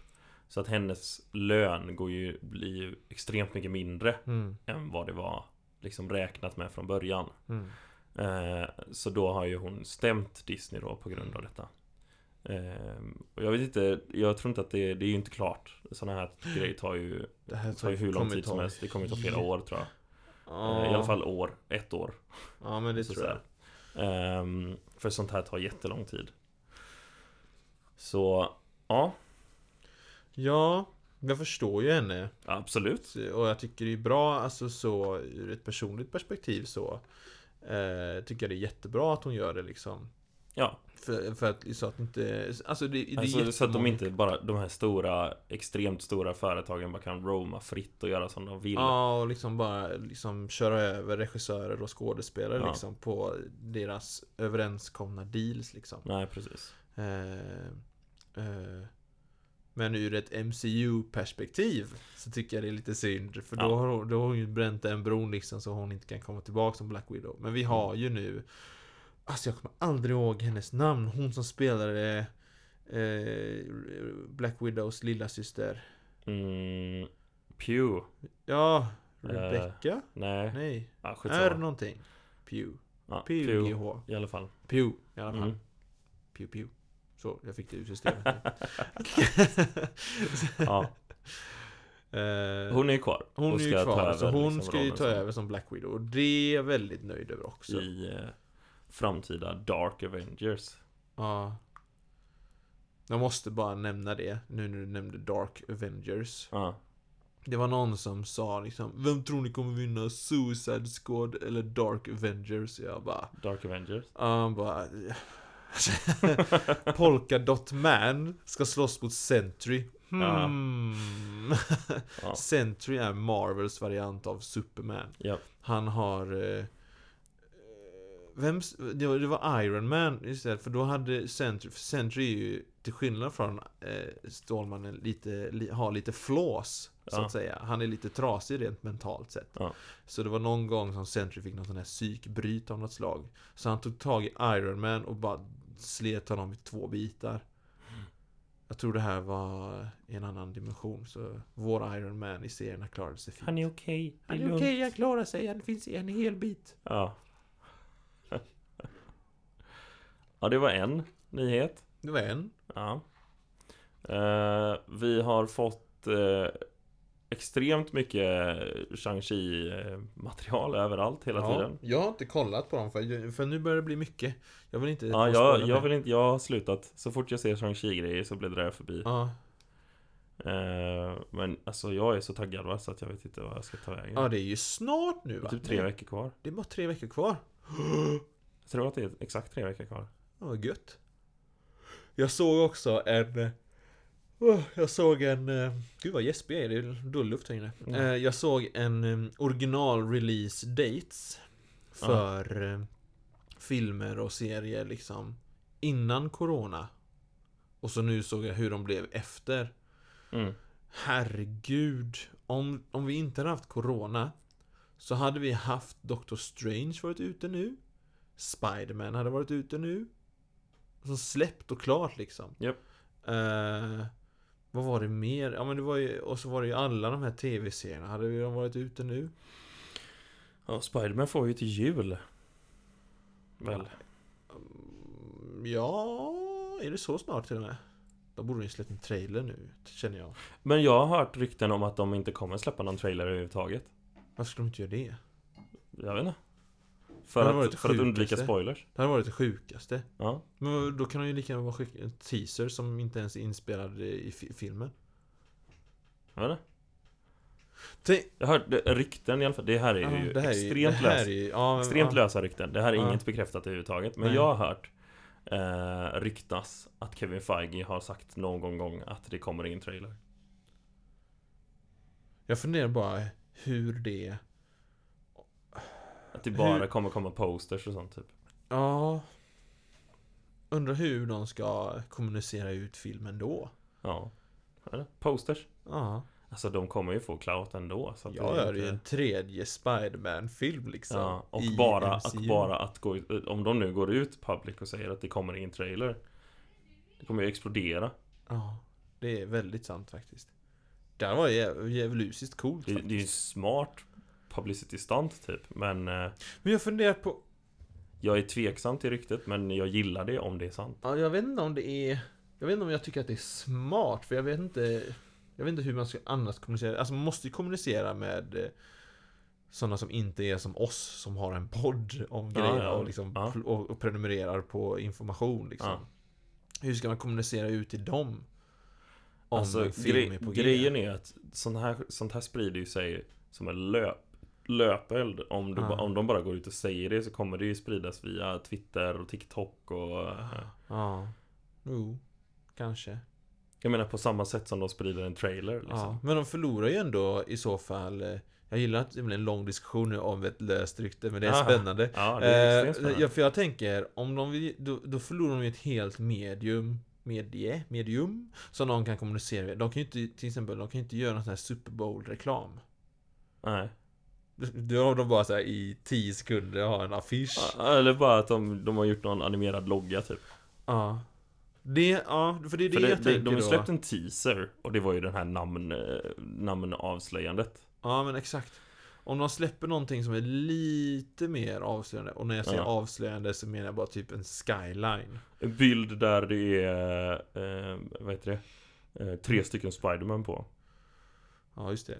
S1: Så att hennes lön går ju, blir ju extremt mycket mindre
S2: Mm,
S1: än vad det var liksom räknat med från början.
S2: mm.
S1: Eh, så då har ju hon stämt Disney då på grund av detta. Ehm, och jag vet inte, jag tror inte att det, det är ju inte klart. Sådana här grejer tar ju,
S2: Det här
S1: tar ju hur lång
S2: kommer
S1: tid
S2: ta-
S1: som helst. Det kommer ju ta flera år tror jag.
S2: Ja,
S1: Ehm, I alla fall år, ett år.
S2: Ja, men det
S1: Så
S2: tror jag.
S1: sådär. Ehm, för sånt här tar jättelång tid. Så, ja,
S2: Ja, jag förstår ju henne.
S1: absolut.
S2: Och jag tycker det är bra, alltså så ur ett personligt perspektiv så eh, Tycker jag det är jättebra att hon gör det liksom
S1: Ja,
S2: För, för att, så att inte, alltså det, det är
S1: alltså, så att de
S2: jättemånga-
S1: inte bara, de här stora, extremt stora företagen bara kan roama fritt och göra som de vill.
S2: Ja, och liksom bara liksom köra över regissörer och skådespelare
S1: Ja.
S2: liksom på deras överenskomna deals liksom
S1: Nej, precis.
S2: eh, eh, Men ur ett MCU-perspektiv så tycker jag det är lite synd För då,
S1: Ja.
S2: har hon, då har hon ju bränt den bron liksom så hon inte kan komma tillbaka som Black Widow Men vi
S1: Mm.
S2: har ju nu Alltså jag kommer aldrig ihåg hennes namn Hon som spelade eh, Black Widows lilla syster
S1: Mm, Pew.
S2: Ja,
S1: Eh,
S2: Rebecca?
S1: Nej.
S2: Nej,
S1: Ja, Eh, skitsamma.
S2: är någonting Pew
S1: ja,
S2: Pew,
S1: Pew.
S2: GH
S1: I alla fall.
S2: Pew i alla fall
S1: Mm.
S2: Pew pew Så, jag fick det ur systemet
S1: Ja,
S2: Eh,
S1: hon är ju kvar.
S2: Hon
S1: och
S2: är ju
S1: ska ta
S2: kvar,
S1: över,
S2: så hon
S1: liksom,
S2: ska ju
S1: rollen
S2: ta
S1: som-
S2: över som Black Widow. Och det är jag väldigt nöjd över också.
S1: I eh, framtida Dark Avengers.
S2: Ja. Jag måste bara nämna det, nu när du nämnde Dark Avengers.
S1: Ja.
S2: Det var någon som sa liksom Vem tror ni kommer vinna Suicide Squad eller Dark Avengers? Jag bara...
S1: Dark Avengers.
S2: Ja, han bara... Polkadot Man ska slåss mot Sentry.
S1: Ja.
S2: Hmm.
S1: Ja.
S2: Sentry är Marvels variant av Superman.
S1: Ja.
S2: Han har... eh, Vem, s- det, var, det var Iron Man istället, för då hade Sentry, för Sentry är ju till skillnad från eh, Stålmannen lite, li, har lite flås, så
S1: Ja.
S2: att säga. Han är lite trasig rent mentalt sett.
S1: Ja.
S2: Så det var någon gång som Sentry fick någon sån här psykbryt av något slag. Så han tog tag i Iron Man och bara slet honom i två bitar. Jag tror det här var i en annan dimension, så vår Iron Man i serierna klarade sig fint.
S1: Han är okej. det
S2: Han är okej,
S1: lugnt.
S2: han klarar sig. Han finns en hel bit.
S1: Ja. ja, det var en nyhet.
S2: Det var en.
S1: Ja. Eh, vi har fått eh, extremt mycket shang chi material överallt hela tiden.
S2: Jag har inte kollat på dem för, för nu börjar det bli mycket. Jag vill inte...
S1: Ja,
S2: spoila
S1: jag, jag
S2: mig.
S1: vill inte, jag har slutat. Så fort jag ser shang chi grejer så bläddrar jag förbi.
S2: Ja,
S1: Eh, men alltså jag är så taggad va, så att jag vet inte vad jag ska ta vägen.
S2: ja, det är ju snart nu
S1: det är
S2: va?
S1: typ tre
S2: Nej,
S1: veckor kvar.
S2: Det är bara tre veckor kvar.
S1: Jag tror att det är exakt tre veckor kvar.
S2: Ja, vad gött. Jag såg också en... eh, åh, jag såg en... eh, Gud vad gäspig jag är, det är dålig luft här inne.
S1: Mm.
S2: Eh, Jag såg en eh, original release dates. För eh, filmer och serier liksom. Innan corona. Och så nu såg jag hur de blev efter.
S1: Mm.
S2: Herregud. Om, om vi inte hade haft corona så hade vi haft Doctor Strange varit ute nu. Spiderman hade varit ute nu. Så släppt och klart liksom.
S1: Japp.
S2: Eh, vad var det mer? Ja men det var ju, och så var det ju alla de här tv-serierna. Hade ju de varit ute nu?
S1: Ja, Spiderman får ju till jul. Väl?
S2: Mm, Ja, är det så snart till och med? De borde ju släppt en trailer nu, känner jag.
S1: Men jag har hört rykten om att de inte kommer släppa någon trailer överhuvudtaget.
S2: Varför skulle de inte göra det?
S1: Jag vet inte.
S2: Det hade
S1: För,
S2: varit
S1: att,
S2: det
S1: för att undvika
S2: sjukaste.
S1: spoilers.
S2: Det hade varit det sjukaste.
S1: Ja.
S2: Men då kan de ju lika gärna bara skicka en teaser som inte ens är inspelad i fi- filmen.
S1: Jag, vet inte.
S2: Tänk,
S1: jag hörde rykten i alla fall. Det här är ju
S2: ja, det här är ju-
S1: extremt
S2: det här
S1: löst.
S2: är ju- ja, men-
S1: Extremt
S2: ja.
S1: lösa rykten. Det här är
S2: Ja.
S1: inget bekräftat överhuvudtaget. Men
S2: Nej.
S1: jag har hört eh, ryktas att Kevin Feige har sagt någon gång att det kommer ingen trailer.
S2: Jag funderar bara hur det...
S1: Att det bara
S2: Hur-
S1: kommer komma posters och sånt typ.
S2: Ja... Undrar hur de ska kommunicera ut filmen då?
S1: Ja. Eller? Posters.
S2: Ja,
S1: Alltså de kommer ju få clout ändå. Så att
S2: jag
S1: är
S2: gör ju
S1: inte-
S2: en tredje Spiderman-film liksom.
S1: Ja, och
S2: i
S1: bara,
S2: MCU.
S1: att bara att gå ut, om de nu går ut public och säger att det kommer ingen trailer Det kommer ju explodera
S2: Ja, det är väldigt sant faktiskt. Det här var jä- djävulusiskt coolt
S1: Det, det är ju en smart publicity stunt typ, men eh,
S2: Men jag funderar på...
S1: Jag är tveksam till ryktet men jag gillar det om det är sant.
S2: Ja, jag vet inte om det är... Jag vet inte om jag tycker att det är smart, för jag vet inte... Jag vet inte hur man ska annars kommunicera. Alltså man måste ju kommunicera med eh, sådana som inte är som oss, som har en podd om
S1: Ja,
S2: grejer
S1: ja,
S2: och, liksom,
S1: ja.
S2: pl- och, och prenumererar på information. Liksom.
S1: Ja.
S2: Hur ska man kommunicera ut till dem? Om
S1: Alltså,
S2: en film
S1: gre-
S2: är på
S1: grejen är att sånt här, sånt här sprider ju sig som en löp, löpeld. Om, du,
S2: Ja.
S1: ba- om de bara går ut och säger det så kommer det ju spridas via Twitter och TikTok och... eh,
S2: Ja. Jo, kanske.
S1: Jag menar på samma sätt som de sprider en trailer
S2: Ja,
S1: liksom.
S2: men de förlorar ju ändå i så fall eh, Jag gillar att det blir en lång diskussion nu om ett löst rykte men det är
S1: Ah,
S2: spännande
S1: Ja, det är
S2: Eh,
S1: extremt spännande.
S2: ja, för jag tänker, om de vill, då, då förlorar de ju ett helt medium Medie? Medium? Som någon kan kommunicera med. De kan ju inte, till exempel, de kan ju inte göra någon sån här Super Bowl-reklam
S1: Nej.
S2: Då har de bara såhär i 10 sekunder har en affisch
S1: Ja, Eller bara att de, de har gjort någon animerad logga typ.
S2: Ja Det, ja, för det är det,
S1: För det,
S2: jag
S1: det,
S2: tänker
S1: de har
S2: då
S1: släppt en teaser och det var ju den här namn, eh, namnavslöjandet.
S2: Ja men exakt Om de släpper någonting som är lite mer avslöjande Och när jag säger
S1: Ja.
S2: avslöjande så menar jag bara typ en skyline
S1: En bild där det är, eh, vad heter det? Eh, tre stycken Spiderman på.
S2: Ja just det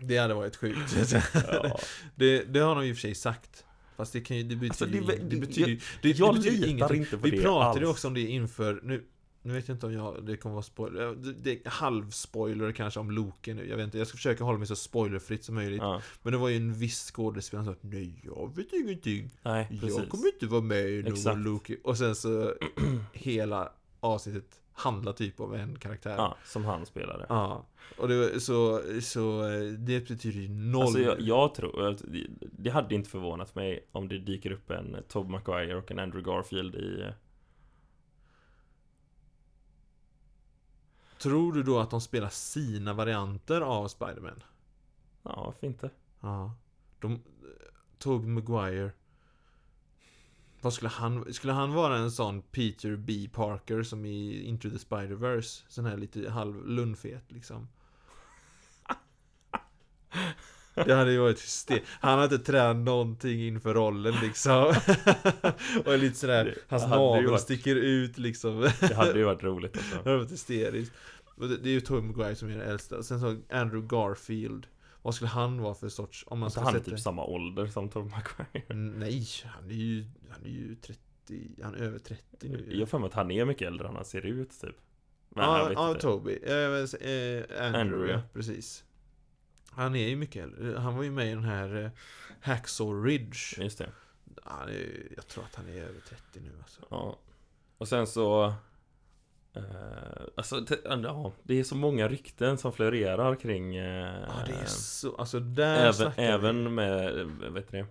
S2: Det hade varit sjukt
S1: Ja.
S2: det, det har de i och för sig sagt Fast det kan ju, det
S1: Alltså,
S2: betyder
S1: det-
S2: ju- det
S1: det-
S2: betyder ju- det- det
S1: Jag
S2: betyder ju
S1: litar
S2: ingenting.
S1: inte på
S2: Vi
S1: det
S2: pratade ju
S1: alls.
S2: också om det inför, nu nu vet jag inte om jag, det kommer vara spoiler, ja, det, det är halvspoiler kanske om Loke nu, jag vet inte, jag ska försöka hålla mig så spoilerfritt som möjligt
S1: Ja.
S2: Men det var ju en viss skådespelare som sa Nej, jag vet ingenting
S1: Nej,
S2: Jag
S1: precis.
S2: kommer inte vara med i
S1: Exakt.
S2: någon Loki. Och sen så hela avsnittet handlar typ om en karaktär.
S1: Ja, som han spelade.
S2: Ja. Och det var, så, så eh, det betyder ju noll.
S1: Alltså jag, jag tror, att det- det hade inte förvånat mig om det dyker upp en Tobey Maguire och en Andrew Garfield i...
S2: Tror du då att de spelar sina varianter av Spider-Man?
S1: Ja, varför inte?
S2: Ja. De, Tobey Maguire. Vad skulle han, skulle han vara en sån Peter B. Parker som i Into the Spider-Verse? Sån här lite halv lundfet liksom. Det hade ju varit hysteriskt. Han hade inte tränat någonting inför rollen liksom. Och är lite sådär,
S1: Det
S2: hans
S1: hade ju
S2: navel
S1: varit-
S2: sticker ut liksom.
S1: Det hade ju varit roligt
S2: Det
S1: alltså.
S2: hade varit hysteriskt. Och Det det är ju Tobey Maguire som är den äldsta. Sen så Andrew Garfield. Vad skulle han vara för sorts? Om man
S1: Inte
S2: ska
S1: han är
S2: sätta...
S1: typ samma ålder som Tobey Maguire.
S2: Nej, han är ju, han är ju 30, han är över 30 nu.
S1: Jag har för mig att han är mycket äldre än han ser ut typ. Men jag
S2: ja,
S1: vet
S2: ja,
S1: inte.
S2: Toby. Eh, men, eh, Andrew,
S1: Andrew,
S2: ja.
S1: ja.
S2: Precis. Han är ju mycket äldre. Han var ju med i den här eh, Hacksaw Ridge.
S1: Just det.
S2: Han är, ju- jag tror att han är över 30 nu alltså.
S1: Ja. Och sen så... Eh, alltså, te- ja, det är så många rykten som florerar kring... Eh,
S2: Ja, det är så, alltså där
S1: även,
S2: snackar vi.
S1: även med, eh, vad heter det?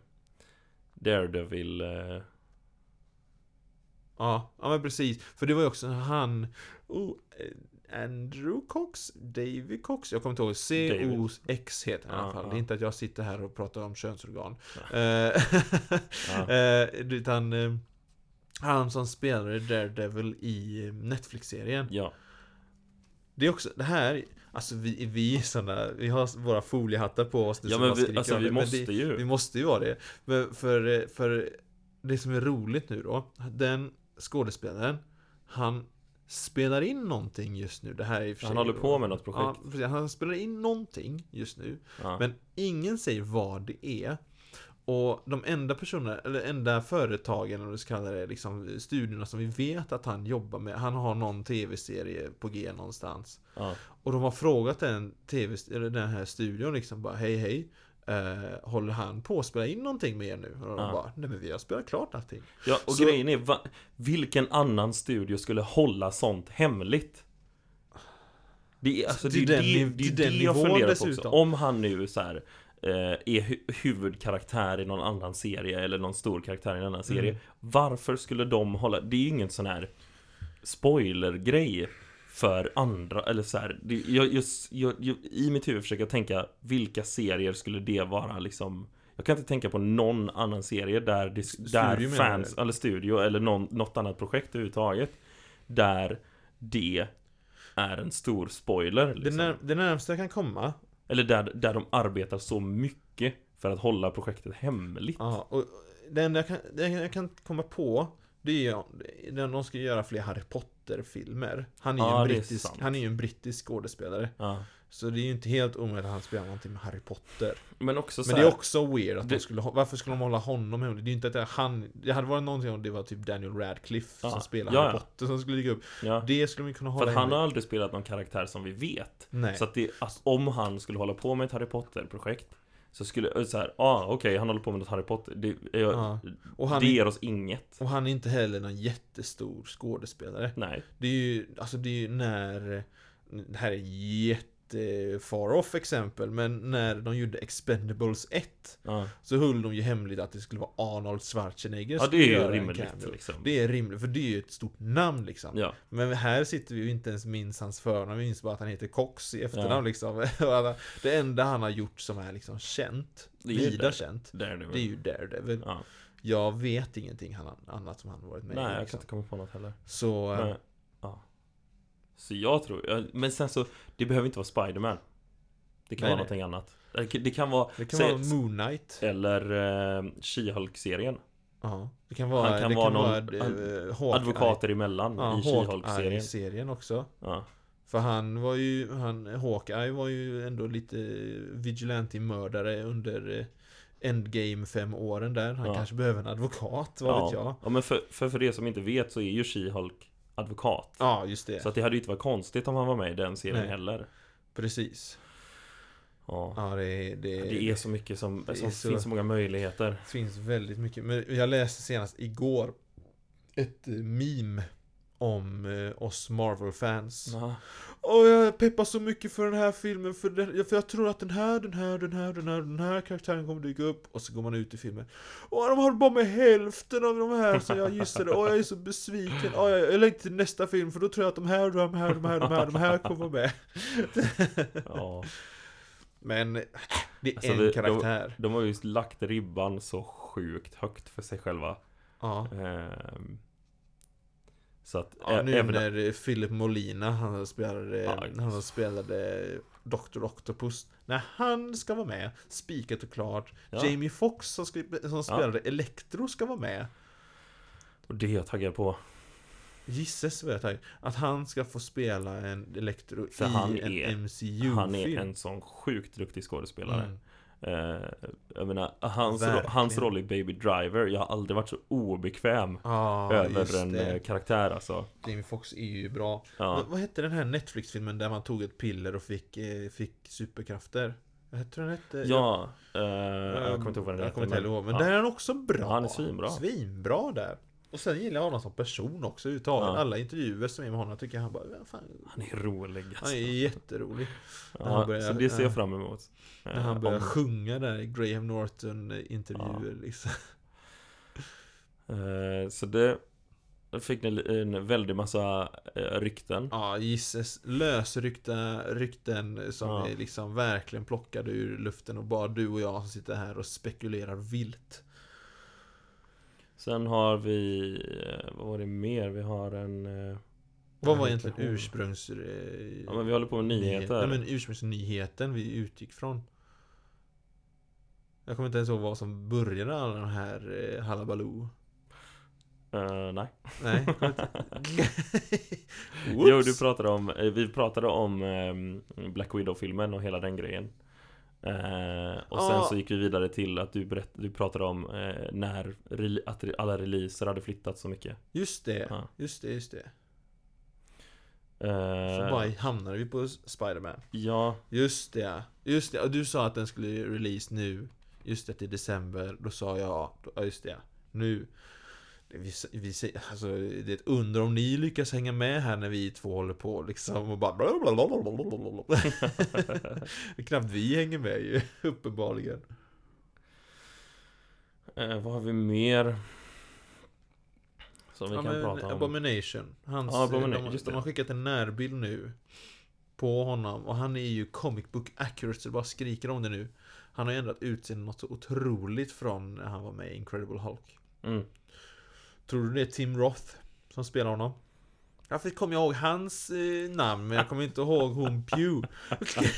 S1: Daredevil... Eh,
S2: Ja, ja men precis. För det var ju också han... Oh, eh, Andrew Cox? Davy Cox? Jag kommer inte ihåg. C-O-X heter han i alla
S1: Ja,
S2: fall.
S1: ja.
S2: Det är inte att jag sitter här och pratar om könsorgan.
S1: Ja.
S2: Eh,
S1: Ja.
S2: eh, utan... eh, Han som spelade Daredevil i eh, Netflix-serien.
S1: ja.
S2: Det är också, det här, alltså vi, vi är såna, vi har våra foliehattar på oss nu
S1: Ja
S2: så
S1: men
S2: bara
S1: vi,
S2: skriker
S1: alltså
S2: om
S1: vi
S2: det. Men
S1: måste
S2: det, vi
S1: ju.
S2: måste ju vara det. Men för, för det som är roligt nu då, den skådespelaren, han spelar in någonting just nu. Det här är i och för sig
S1: Han håller på med något
S2: Ja,
S1: projekt.
S2: precis. han spelar in någonting just nu.
S1: Ja.
S2: Men ingen säger vad det är. Och de enda personerna, eller enda företagen, om du ska kalla det, liksom studierna som vi vet att han jobbar med, han har någon tv-serie på G någonstans.
S1: Ja.
S2: Och de har frågat den tv, eller den här studion liksom bara hej hej eh, Håller han på att spela in någonting med er nu? Och de
S1: Ja.
S2: bara nej men vi har spelat klart allting
S1: Ja, och
S2: Så-
S1: grejen är, va, vilken annan studio skulle hålla sånt hemligt? Det är, alltså, det,
S2: Till
S1: är
S2: den
S1: det,
S2: niv-
S1: det,
S2: till
S1: är det
S2: den
S1: jag
S2: nivån
S1: funderar på också.
S2: dessutom.
S1: Om han nu så här, eh, är hu- huvudkaraktär i någon annan serie eller någon stor karaktär i en
S2: Mm.
S1: annan serie. Varför skulle de hålla... Det är ju ingen sån här spoilergrej för andra, eller så här, det, jag, jag, jag, jag, I mitt huvud försöker jag tänka Vilka serier skulle det vara liksom Jag kan inte tänka på någon annan serie där, det,
S2: Studio
S1: där
S2: menar
S1: fans,
S2: du?
S1: eller studio eller någon, något annat projekt överhuvudtaget Där det är en stor spoiler
S2: det,
S1: liksom.
S2: när, det närmsta jag kan komma
S1: Eller där, där de arbetar så mycket för att hålla projektet hemligt
S2: ja, och, det enda jag kan, det enda jag kan komma på det är ju när de ska göra fler Harry Potter-filmer. Han är ju
S1: Ja,
S2: en
S1: det är
S2: brittisk,
S1: sant.
S2: han är ju en brittisk skådespelare.
S1: Ja.
S2: Så det är ju inte helt omöjligt att han spelar någonting med Harry Potter.
S1: Men också så
S2: Men
S1: här,
S2: det är också weird att de
S1: det-
S2: skulle, ha- varför skulle de hålla honom hemlig? Det är ju inte att det är han, det hade varit någonting om det var typ Daniel Radcliffe
S1: Ja.
S2: som spelar
S1: Ja,
S2: Harry
S1: ja.
S2: Potter som skulle dyka upp.
S1: ja.
S2: Det skulle man ju kunna
S1: För
S2: hålla
S1: att han har
S2: hemligt.
S1: aldrig spelat någon karaktär som vi vet.
S2: Nej.
S1: Så att, det, att om han skulle hålla på med ett Harry Potter-projekt så skulle, så här, ah okej han håller på med något Harry Potter. Det, jag,
S2: Ja. Och han,
S1: det
S2: är,
S1: ger oss inget.
S2: och han är inte heller någon jättestor skådespelare.
S1: Nej.
S2: Det är ju, alltså det är ju när Det här är jätte far off exempel men när de gjorde Expendables 1
S1: Ja,
S2: Så höll de ju hemligt att det skulle vara Arnold Schwarzenegger
S1: ja
S2: som
S1: det är
S2: skulle
S1: ju
S2: göra en
S1: rimligt
S2: cameo.
S1: liksom.
S2: Det är rimligt, för det är ju ett stort namn liksom
S1: Ja.
S2: Men här sitter vi ju inte ens minns hans förnamn, vi minns bara att han heter Cox i efternamn
S1: Ja.
S2: liksom Och alla- Det enda han har gjort som är liksom känt,
S1: Det är ju
S2: vida
S1: Daredevil.
S2: känt
S1: Där nu.
S2: Det är ju Daredevil
S1: ja.
S2: Jag vet ingenting han- annat som han har varit med
S1: Nej,
S2: i
S1: jag kan
S2: liksom.
S1: inte komma på något heller.
S2: Så, eh,
S1: Nej. Ja. Så jag tror, ja, men sen så, det behöver inte vara Spiderman. Det kan
S2: Nej,
S1: vara
S2: nej.
S1: någonting annat. Det kan- Det kan vara,
S2: det kan
S1: Säg-
S2: vara Moon Knight
S1: eller eh, She-Hulk-serien.
S2: Ja, det kan vara,
S1: Han kan
S2: det
S1: vara
S2: kan
S1: någon
S2: vara
S1: ad-
S2: eh, Hawkeye.
S1: Advokater emellan
S2: ja,
S1: i She-Hulk-serien.
S2: Hawkeye-serien också.
S1: Ja.
S2: För han var ju, han, Hawkeye var ju ändå lite vigilante-mördare under eh, Endgame fem åren där. Han
S1: Ja.
S2: kanske behöver en advokat, vad vet jag.
S1: ja. ja, men för, för, för det som inte vet så är ju She-Hulk advokat.
S2: Ja, just det.
S1: Så att det hade ju inte varit konstigt om han var med i den serien
S2: Nej.
S1: heller.
S2: Precis.
S1: Ja.
S2: Ja, det, det,
S1: Det är så mycket som,
S2: det är
S1: som
S2: så-
S1: finns så många möjligheter.
S2: finns väldigt mycket. Men jag läste senast igår ett eh, meme om eh, oss Marvel-fans.
S1: Ja.
S2: Åh, jag peppar så mycket för den här filmen för, den, för jag tror att den här, den här, den här, den här, den här karaktären kommer dyka upp Och så går man ut i filmen Åh, de har bara med hälften av de här som jag gissade Åh, jag är så besviken Åh, jag, jag längtar till nästa film för då tror jag att de här, de här, de här, de här, de här kommer med
S1: ja.
S2: Men äh, det är
S1: Alltså,
S2: en
S1: det- de-
S2: karaktär
S1: De har ju lagt ribban så sjukt högt för sig själva.
S2: Ja
S1: Ehm, Så att
S2: Ja,
S1: ä-
S2: nu
S1: även
S2: när eh, Philip Molina, han spelade,
S1: Ja.
S2: han som spelade Dr. Octopus När han ska vara med, spikat och klart
S1: Ja.
S2: Jamie Foxx som, skri- som spelade Electro ska vara med
S1: Och det är jag taggad på
S2: Gisses vad jag taggad Att han ska få spela en Electro
S1: För
S2: i
S1: han
S2: en
S1: är-
S2: MCU-film
S1: Han är en sån sjukt duktig skådespelare
S2: Mm.
S1: Eh, Jag menar, hans, ro-
S2: Verkligen.
S1: hans roll i Baby Driver Jag har aldrig varit så obekväm
S2: Ja, just
S1: Över en eh,
S2: det.
S1: karaktär alltså
S2: Jamie Foxx är ju bra
S1: ja.
S2: vad, vad hette den här Netflix-filmen där man tog ett piller och fick, eh, fick superkrafter? Vad hette den hette? ehm,
S1: Ja, eh, jag kommer inte ihåg vad den
S2: Jag kommer inte heller ihåg, men
S1: ja.
S2: där är han också bra.
S1: Ja, han är svinbra.
S2: Svinbra där. Och sen gillar jag honom som person också överhuvudtaget.
S1: Ja.
S2: Alla intervjuer som är med honom jag tycker han bara, "Vad fan,
S1: Han är rolig
S2: han
S1: alltså.
S2: är jätterolig.
S1: ja,
S2: när han börjar-
S1: Så det ser jag
S2: ja.
S1: fram emot Eh,
S2: När han börjar
S1: om-
S2: sjunga där i Graham Norton-intervjuer liksom.
S1: eh, Så det då fick ni en väldig massa eh, rykten
S2: Ja, gisses. Lösryckta rykten som
S1: Ja.
S2: är liksom verkligen plockade ur luften och bara du och jag som sitter här och spekulerar vilt.
S1: Sen har vi, eh, vad var det mer? Vi har en... eh,
S2: Vad var
S1: heter
S2: egentligen
S1: hon?
S2: ursprungs... eh,
S1: Ja men vi håller på med nyheter.
S2: Nej men ursprungsnyheten vi utgick från. Jag kommer inte ens ihåg vad som började alla de här eh, Hallabaloo.
S1: Eh, nej.
S2: Nej, jag kommer inte...
S1: Jo, du pratade om, eh, vi pratade om eh, Black Widow-filmen och hela den grejen. Eh, och sen
S2: Ja.
S1: så gick vi vidare till att du, berätt, du pratade om eh, när rele- att re- alla releaser hade flyttat så mycket.
S2: Just det,
S1: Ja.
S2: just det, just det. Så
S1: Eh,
S2: bara hamnade vi på Spider-Man.
S1: ja,
S2: Just det, just det. Och du sa att den skulle release nu. Just det, i december. Då sa jag, ja just det, nu. Det Vi, vi, säger- alltså, det är ett under om ni lyckas hänga med här när vi två håller på liksom och bara blablabla. Det är knappt vi hänger med ju, uppenbarligen.
S1: eh, vad har vi mer? Som vi
S2: Ja,
S1: kan
S2: men,
S1: prata om.
S2: Abomination. Hans,
S1: Ja, Abomination,
S2: de,
S1: just
S2: de
S1: det.
S2: har skickat en närbild nu. På honom. Och han är ju comic book accurate så det bara skriker om det nu. Han har ju ändrat utseende något så otroligt från när han var med i Incredible Hulk.
S1: Mm.
S2: Tror du det är Tim Roth som spelar honom? Varför kommer jag ihåg hans eh, namn men jag kommer inte ihåg hon Pugh.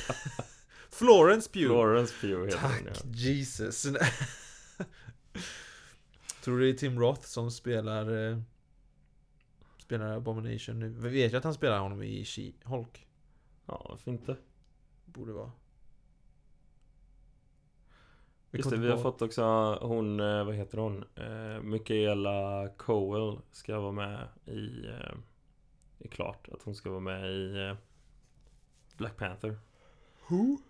S2: Florence Pugh.
S1: Florence Pugh heter
S2: Tack
S1: hon ja.
S2: Jesus. Tror du det är Tim Roth som spelar eh, Spelar Abomination nu? Vi vet ju att han spelar honom i She-Hulk
S1: Ja, varför inte?
S2: Borde vara Vi
S1: Just
S2: kom
S1: det,
S2: inte
S1: vi har
S2: på-
S1: fått också hon, eh, vad heter hon? Eh, Michaela Cowell ska vara med i... Eh, det är klart att hon ska vara med i eh, Black Panther.
S2: Who?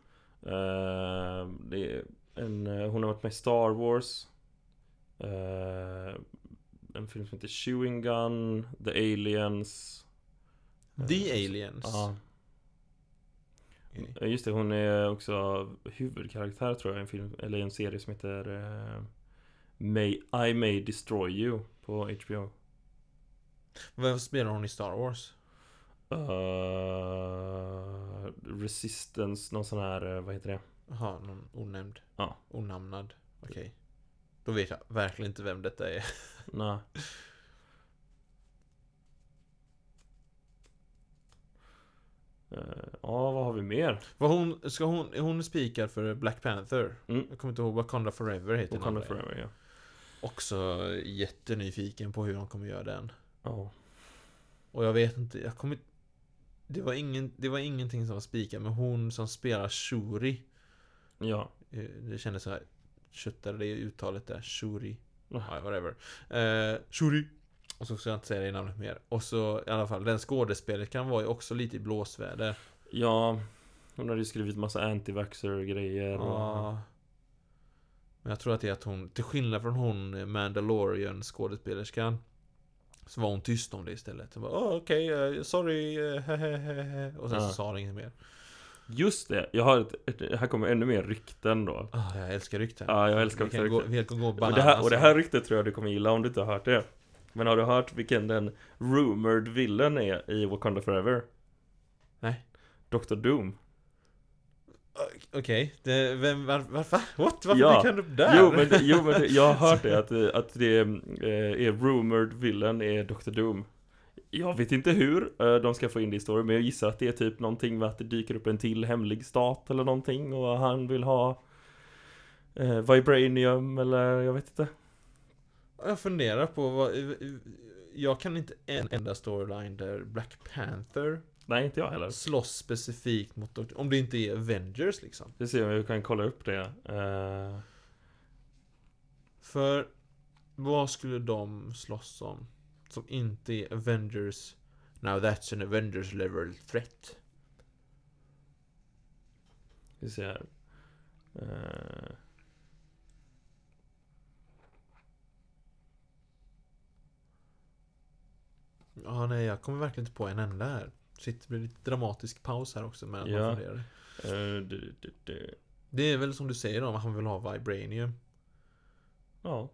S1: Eh, det är en, eh, hon har varit med i Star Wars. Eh, en film som heter Chewing Gun, The Aliens.
S2: The Aliens
S1: Ja,
S2: Är ni?
S1: Ja, just det. Hon är också huvudkaraktär tror jag i en film, eller i en serie som heter eh, May, I May Destroy You på HBO.
S2: Vem spelar hon i Star Wars?
S1: Eh, Resistance, någon sån här, eh, vad heter det?
S2: Jaha, någon onämnd
S1: Ja.
S2: Onamnad Okej Då vet jag verkligen inte vem detta är
S1: Nej. Eh, Ja, vad har vi mer?
S2: Vad hon, ska hon, är hon spikar för Black Panther?
S1: Mm.
S2: Jag kommer inte ihåg vad Conda Forever heter den
S1: Wakanda
S2: andra.
S1: Forever, ja.
S2: Också jättenyfiken på hur de kommer göra den
S1: Ja.
S2: Och jag vet inte, jag kommer det var, ingen, det var ingenting som var spikat men hon som spelar Shuri
S1: Ja.
S2: eh, Det kändes så här Köttade det uttalet där, Shuri Ja, whatever eh, Shuri Och så ska jag inte säga det namnet mer Och så i alla fall, den skådespelerskan var ju också lite i blåsväder
S1: Ja. Hon hade ju skrivit massa anti-vaxxer grejer och...
S2: Ja. Men jag tror att det är att hon, till skillnad från hon Mandalorian skådespelerskan Så var hon tyst om det istället. Hon bara "Åh, okej, eh, sorry, eh, hehehe." Och sen så
S1: Ja.
S2: sa hon inget mer.
S1: Just det, jag har ett, ett, här kommer ännu mer rykten då.
S2: Ah, jag älskar rykten.
S1: Ja, jag älskar
S2: vi
S1: också
S2: kan gå,
S1: rykten.
S2: vi kan gå
S1: Och
S2: bananas.
S1: det, här, och det här ryktet tror jag du kommer gilla om du inte har hört det. Men har du hört vilken den rumored villain är i Wakanda Forever?
S2: Nej.
S1: Dr. Doom.
S2: Okej, det- vem, var, varför? What? Varför
S1: Ja.
S2: dyker han upp där?
S1: Jo men, jo, men det- jag har hört det att, eh, att det eh, är rumored villain är Dr. Doom. Jag vet inte hur eh, de ska få in det i storyn, men jag gissar att det är typ någonting med att det dyker upp en till hemlig stat eller någonting och han vill ha eh, Vibranium eller jag vet inte.
S2: Jag funderar på vad... eh, Jag kan inte en enda storyline där Black Panther
S1: Nej, inte jag heller.
S2: slåss specifikt mot Dr. Om det inte är Avengers liksom.
S1: Vi ser om vi kan kolla upp det. Eh,
S2: För vad skulle de slåss om? Som inte är Avengers Now that's an Avengers level threat.
S1: vi ser här. Eh,
S2: Ja, nej, jag kommer verkligen inte på en enda här. Shit, det blir lite dramatisk paus här också medan
S1: Ja.
S2: man funderar.
S1: eh, du- du- du.
S2: Det är väl som du säger om han vill ha vibranium.
S1: Ja,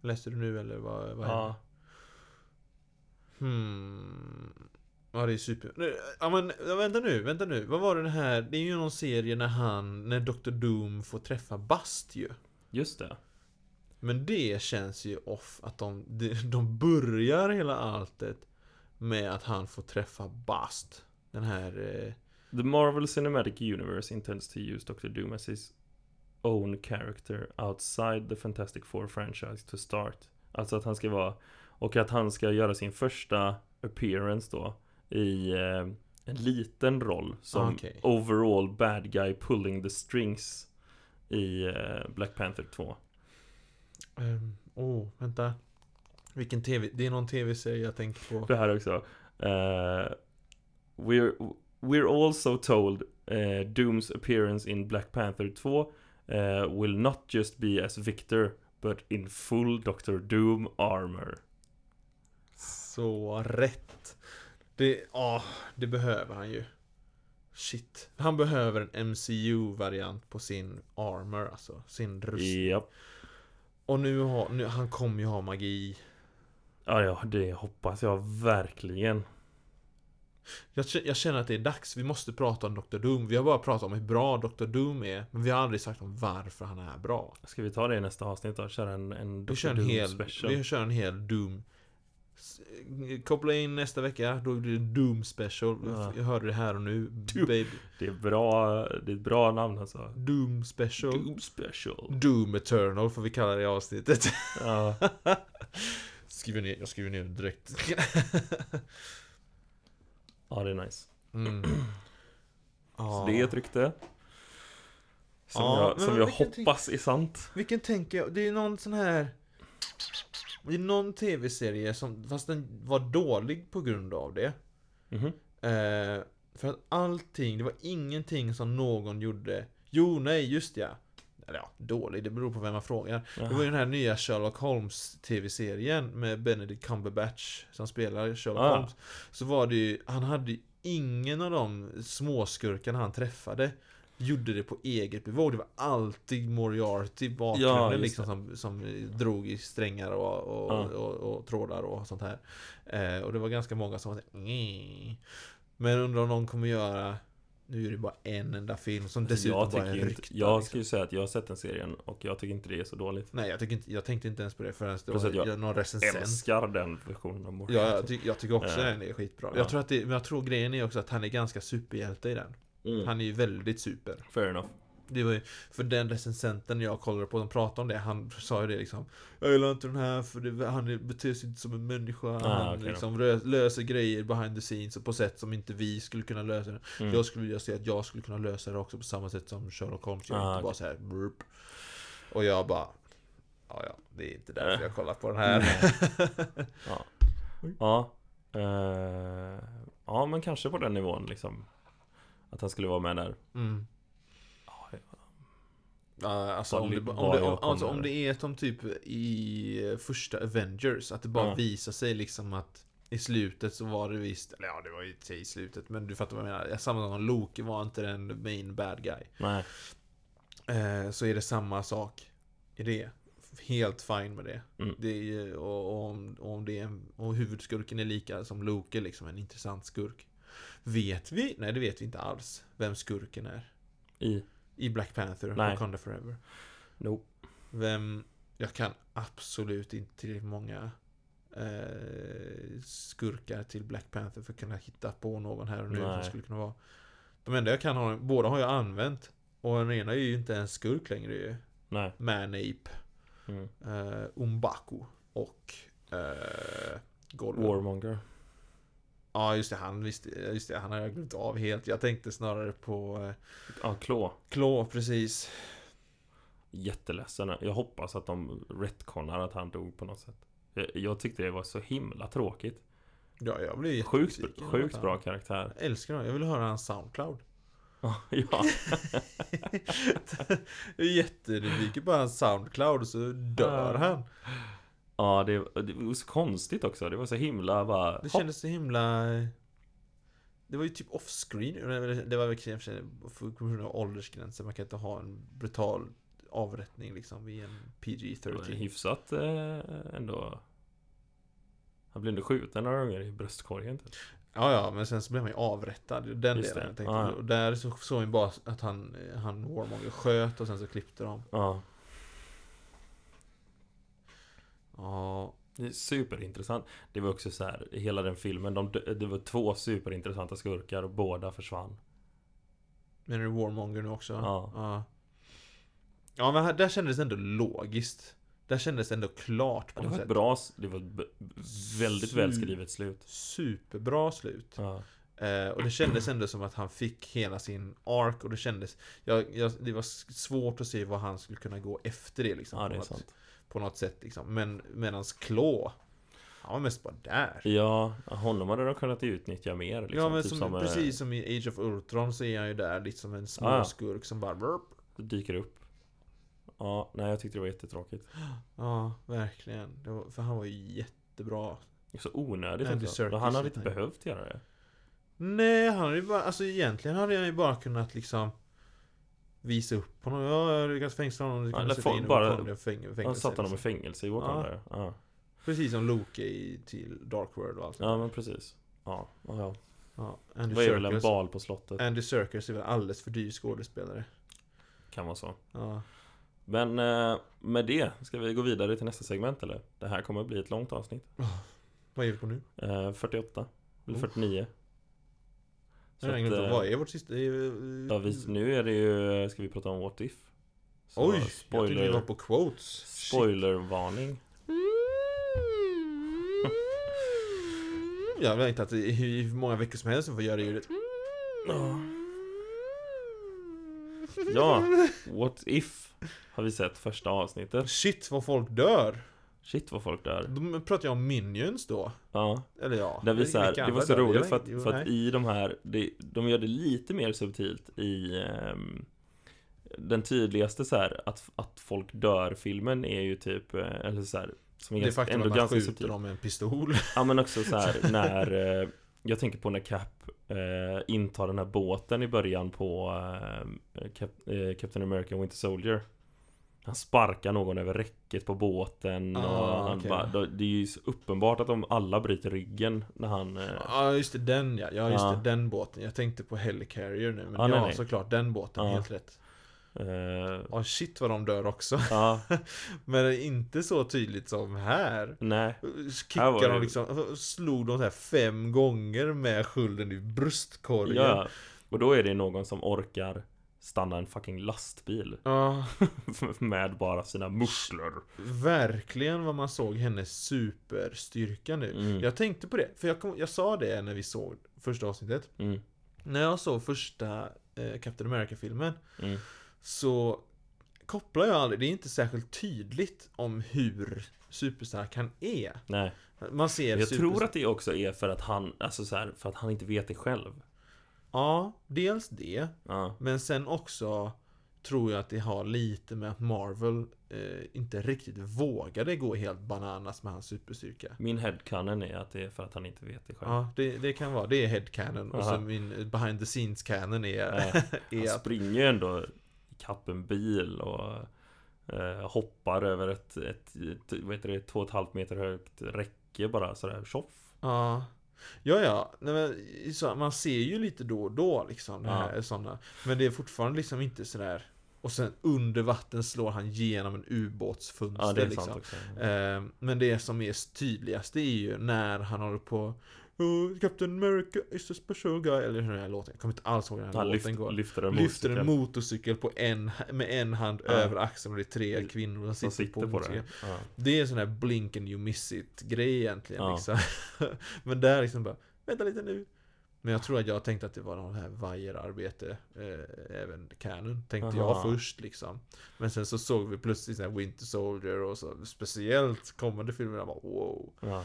S2: Läste du nu eller vad?
S1: ja.
S2: vad ja. Hmm. Ja, det är super... Nej, Ja, men ja, vänta nu, vänta nu. Vad var det det här? Det är ju någon serie när han, när Dr. Doom får träffa Bast ju.
S1: Just det.
S2: Men det känns ju off att de, de, de börjar hela alltet med att han får träffa Bast. Den här... Eh,
S1: The Marvel Cinematic Universe intends to use Dr. Doom as his own character outside the Fantastic Four franchise to start. Alltså att han ska vara, och att han ska göra sin första appearance då i eh, en liten roll som
S2: Okej.
S1: overall bad guy pulling the strings i eh, Black Panther 2.
S2: ehm, oh, vänta. Vilken TV? Det är någon TV-serie jag tänker på.
S1: Det här också. Eh, we're, we're also told eh, Doom's appearance in Black Panther 2 eh, will not just be as Victor but in full Dr. Doom armor.
S2: Så rätt. Det, ah, det behöver han ju. Shit. Han behöver en MCU-variant på sin armor, alltså. Sin rustning.
S1: Japp.
S2: Och nu har, nu, han kommer ju ha magi.
S1: Ja, ja, det hoppas jag verkligen.
S2: Jag, kä- jag känner att det är dags, vi måste prata om Dr. Doom. Vi har bara pratat om hur bra Dr. Doom är, men vi har aldrig sagt om varför han är bra.
S1: Ska vi ta det i nästa avsnitt då? Köra en, en
S2: Vi
S1: Dr.
S2: kör en
S1: Doom
S2: hel,
S1: special?
S2: vi kör en hel Doom S- Koppla in nästa vecka, då blir det Doom special.
S1: Ja.
S2: Jag hörde det här och nu.
S1: Doom.
S2: Baby.
S1: Det är bra, det är ett bra namn alltså.
S2: Doom special. Doom.
S1: Doom special.
S2: Eternal får vi kalla det i avsnittet.
S1: Ja.
S2: skriver ner, jag skriver ner det direkt.
S1: ja, det är nice.
S2: Mm.
S1: Så
S2: Ja.
S1: det är ett rykte. Som
S2: Ja,
S1: jag,
S2: men
S1: som jag
S2: vilken tyck-
S1: hoppas är sant.
S2: Vilken tänker jag? Det är någon sån här... Det är någon tv-serie som, fast den var dålig på grund av det.
S1: Mhm.
S2: Eh, för att allting, det var ingenting som någon gjorde. Jo, nej, just ja. Eller ja, dålig, det beror på vem man frågar. Det var ju den här nya Sherlock Holmes TV-serien med Benedict Cumberbatch som spelar Sherlock
S1: Ah.
S2: Holmes. Så var det ju, han hade ju ingen av de småskurkarna han träffade gjorde det på eget bevåg. Det var alltid Moriarty i bakgrunden
S1: Ja, just Ah.
S2: liksom som, som drog i strängar och, och,
S1: Ja.
S2: och, och, trådar och sånt här. Eh, och det var ganska många som var såhär, "Nj." Men undrar om någon kommer göra nu är det bara en enda film som
S1: Alltså,
S2: dessutom
S1: jag
S2: bara är
S1: tycker
S2: ryktad.
S1: inte, jag
S2: liksom.
S1: ska ju säga att jag har sett den serien och jag tycker inte det är så dåligt.
S2: Nej, jag, tycker inte, jag tänkte inte ens på det förrän det
S1: Plus
S2: var
S1: att jag
S2: jag någon recensent.
S1: Älskar den versionen av Moriarty.
S2: Ja, jag, ty, jag tycker också
S1: Ja.
S2: den är skitbra.
S1: Ja.
S2: Jag, tror att det, men jag tror grejen är också att han är ganska superhjälte i den.
S1: Mm.
S2: Han är ju väldigt super.
S1: Fair enough.
S2: Det var ju, för den recensenten jag kollade på, som pratade om det, han sa ju det liksom Jag gillar inte den här för det, han är- beter sig inte som en människa. han
S1: Ah, okej då.
S2: liksom rö- löser grejer behind the scenes och på sätt som inte vi skulle kunna lösa det.
S1: Mm.
S2: Jag skulle vilja se att jag skulle kunna lösa det också på samma sätt som Sherlock Holmes gör.
S1: Ah,
S2: inte bara så här. burp. Och jag bara Ja, ja, det är inte
S1: Äh.
S2: därför jag kollar på den här.
S1: Ja. Ja. Eh, ja, men kanske på den nivån liksom. Att han skulle vara med där.
S2: Mm.
S1: Ja,
S2: Ja, Alltså,
S1: Vad
S2: om, det,
S1: li-
S2: ba- om,
S1: vad
S2: det,
S1: jag
S2: om, alltså
S1: kommer-
S2: om det är som typ i eh, första Avengers, att det bara
S1: Ja.
S2: visar sig liksom att i slutet så var det visst, eller ja det var ju i och för sig i slutet, men du fattar vad jag menar. Samma som Loki var inte den main bad guy.
S1: Nej.
S2: Eh, så är det samma sak i det. Helt fine med det.
S1: Mm.
S2: det är, ju- och, och, om, och, om det är en, och huvudskurken är lika som Loke, liksom en intressant skurk. Vet vi? Nej, det vet vi inte alls. Vem skurken är.
S1: I.
S2: I Black Panther,
S1: Nej.
S2: Wakanda Forever.
S1: Nope.
S2: Vem... Jag kan absolut inte tillräckligt många eh, skurkar till Black Panther för att kunna hitta på någon här och nu som
S1: Nej.
S2: skulle kunna vara. De enda jag kan ha, båda har jag använt. Och den ena är ju inte ens skurk längre ju.
S1: Nej.
S2: Manape,
S1: Mm.
S2: eh, Umbaku och eh, Gollum.
S1: Warmonger.
S2: Ja just det, han, visst, just det, han har jag glömt av helt. Jag tänkte snarare på eh,
S1: Ja, Claw.
S2: Claw precis.
S1: Jätteledsen. Jag hoppas att de retconar att han dog på något sätt. Jag, jag tyckte det var så himla tråkigt.
S2: Ja, jag blir
S1: Sjukt,
S2: jättebesviken över att
S1: sjukt
S2: han-
S1: bra karaktär.
S2: Jag älskar honom, jag vill höra hans Soundcloud.
S1: ja.
S2: Jag är jättenyfiken på hans Soundcloud och så dör
S1: Ja.
S2: han.
S1: ja, det, det var så konstigt också. Det var så himla bara...
S2: Det kändes så himla... Det var ju typ off-screen. Men Det var väl i och för sig på grund av åldersgränsen. Man kan inte ha en brutal avrättning liksom i en
S1: Det var
S2: PG-13.
S1: hyfsat eh, ändå. Han blev ändå skjuten några gånger i bröstkorgen typ.
S2: Ja, ja, men sen så blev han ju avrättad. Det är Den
S1: Just
S2: delen
S1: det.
S2: jag tänkte.
S1: Ja, ja.
S2: Och där så såg vi bara att han, han Warmonger sköt och sen så klippte de.
S1: Ja.
S2: Ja,
S1: Det är superintressant. Det var också så här, i hela den filmen, de, dö- det var två superintressanta skurkar och båda försvann.
S2: menar du Warmonger nu också?
S1: Ja.
S2: Ja, ja men här, där kändes det ändå logiskt. Där kändes det ändå klart på
S1: Det
S2: något
S1: var ett
S2: sätt.
S1: bra, s- det var ett b- b- väldigt
S2: Su-
S1: välskrivet slut.
S2: Superbra slut.
S1: Ja.
S2: Eh, och det kändes ändå som att han fick hela sin ark och det kändes... Jag, jag, det var s- svårt att se vad han skulle kunna gå efter det liksom.
S1: ja,
S2: på,
S1: det är
S2: något,
S1: sant.
S2: på något sätt liksom. Men medans Claw, han var mest bara där.
S1: Ja, honom hade de kunnat utnyttja mer. Liksom,
S2: ja men
S1: typ
S2: som,
S1: eh,
S2: precis som i Age of Ultron så är han ju där liksom en
S1: Ja, ja.
S2: småskurk som bara... burp.
S1: dyker upp. Ja, nej jag tyckte det var jättetråkigt.
S2: Ja, verkligen. Det var, för han var ju jättebra.
S1: Det är Så onödigt
S2: Andy
S1: också.
S2: Serkis
S1: Han hade
S2: heter
S1: inte
S2: han.
S1: behövt göra det.
S2: Nej, han hade ju bara, alltså egentligen hade han ju bara kunnat liksom Visa upp honom, ja jag har lyckats fängsla honom, du
S1: Ja,
S2: kan
S1: eller
S2: sätta
S1: få-
S2: in
S1: bara-
S2: honom i fäng- fängelse
S1: Han satte honom i
S2: liksom.
S1: fängelse i Wakanda. Ja. Ja.
S2: Precis som Loke i, till Dark World och allt
S1: ja, men precis. Ja, ja. ja.
S2: ja, Andy,
S1: Det var ju väl en
S2: Serkis,
S1: bal på slottet.
S2: Andy Serkis är väl alldeles för dyr skådespelare
S1: Kan vara så.
S2: Ja,
S1: Men eh, med det, ska vi gå vidare till nästa segment eller? Det här kommer att bli ett långt avsnitt.
S2: Vad är vi på nu?
S1: Eh, 48. Eller
S2: Oh.
S1: 49.
S2: Jag har ingen
S1: att,
S2: aning om
S1: eh,
S2: Vad är vårt sista? eh,
S1: ja, vi, nu är det ju, ska vi prata om What If? Så
S2: Oj! Jag trodde vi var
S1: spoiler,
S2: på quotes.
S1: spoilervarning.
S2: Shit. Mm. Jag har väntat i hur många veckor som helst för att göra det ljudet.
S1: Ja. Ja, What If har vi sett första avsnittet.
S2: Shit vad folk dör!
S1: Shit vad folk dör.
S2: Då pratar jag om Minions då.
S1: Ja.
S2: Eller ja.
S1: Där vi så här,
S2: vilka
S1: det
S2: andra
S1: var så
S2: dör? Jag
S1: roligt
S2: vet
S1: för att,
S2: inte. Jo,
S1: för att
S2: nej.
S1: i de här, det, de gör det lite mer subtilt i ehm, den tydligaste så här att, att folk dör-filmen är ju typ, eh, eller så här, som är
S2: det
S1: ganska,
S2: faktum
S1: ändå
S2: att man
S1: ganska
S2: skjuter
S1: subtilt.
S2: dem med en pistol.
S1: Ja men också så här när, eh, jag tänker på när Cap eh, intar den här båten i början på eh, Cap, eh, Captain America Winter Soldier. Han sparkar någon över räcket på båten och
S2: Ah,
S1: han
S2: okej.
S1: bara, då- det är ju så uppenbart att de alla bryter ryggen när han eh,
S2: Ja just det, den ja. Ja just
S1: Ja.
S2: det, den båten. Jag tänkte på Helicarrier nu. Men
S1: Ja,
S2: ja,
S1: nej, nej.
S2: såklart den båten.
S1: Ja.
S2: Helt rätt.
S1: eh,
S2: Ja shit vad de dör också.
S1: Ja,
S2: Men det är inte så tydligt som här.
S1: nej. Här var
S2: Kickade
S1: det-
S2: de liksom, slog de så här fem gånger med skulden i bröstkorgen.
S1: Ja. Och då är det någon som orkar stanna en fucking lastbil
S2: Ja,
S1: med bara sina musslor.
S2: verkligen vad man såg hennes superstyrka nu.
S1: Mm.
S2: Jag tänkte på det, för jag, kom, jag sa det när vi såg första avsnittet.
S1: Mm,
S2: När jag såg första eh, Captain America-filmen
S1: mm,
S2: så kopplar jag aldrig, det är inte särskilt tydligt om hur superstark han är.
S1: nej.
S2: Man ser
S1: Jag
S2: superstark-
S1: tror att det också är för att han, alltså så här, för att han inte vet det själv.
S2: Ja, dels det.
S1: Ja,
S2: Men sen också tror jag att det har lite med att Marvel eh, inte riktigt vågade gå helt bananas med hans superstyrka.
S1: min headcanon är att det är för att han inte vet det själv.
S2: Ja, det, det kan vara. Det är headcanon och
S1: Aha.
S2: så min behind the scenes canon är,
S1: Eh, Han
S2: är att
S1: springer ju ändå ikapp en bil och eh, hoppar över ett, ett, ett vad heter det, två och ett halvt meter högt räcke bara sådär tjoff.
S2: Ja. Ja, ja. Nej, men, så, man ser ju lite då och då liksom. Det
S1: Ja.
S2: här, såna. Men det är fortfarande liksom inte sådär. Och sen under vatten slår han genom en ubåtsfönster.
S1: Ja, det är sant
S2: liksom.
S1: också.
S2: Eh, Men det som är tydligast det är ju när han håller på "Oh, Captain America is a special guy Eller hur den här låten, jag kommer inte alls ihåg hur den här
S1: Han
S2: låten
S1: lyft,
S2: går
S1: lyfter en
S2: Lyfter en
S1: motorcykel.
S2: motorcykel på en, med en hand
S1: Ja.
S2: över axeln och det är tre
S1: Mm.
S2: kvinnor som
S1: som
S2: sitter, på, motorcykeln.
S1: det. Ja.
S2: Det är en sån här blink and you miss it grej egentligen
S1: Ja.
S2: liksom. Men där liksom bara, vänta lite nu Men jag tror att jag tänkte att det var någon här vajerarbete eh, Även Canon tänkte
S1: Aha.
S2: jag först liksom Men sen så såg vi plötsligt så här Winter Soldier och så Speciellt kommande filmer, jag bara wow
S1: Ja.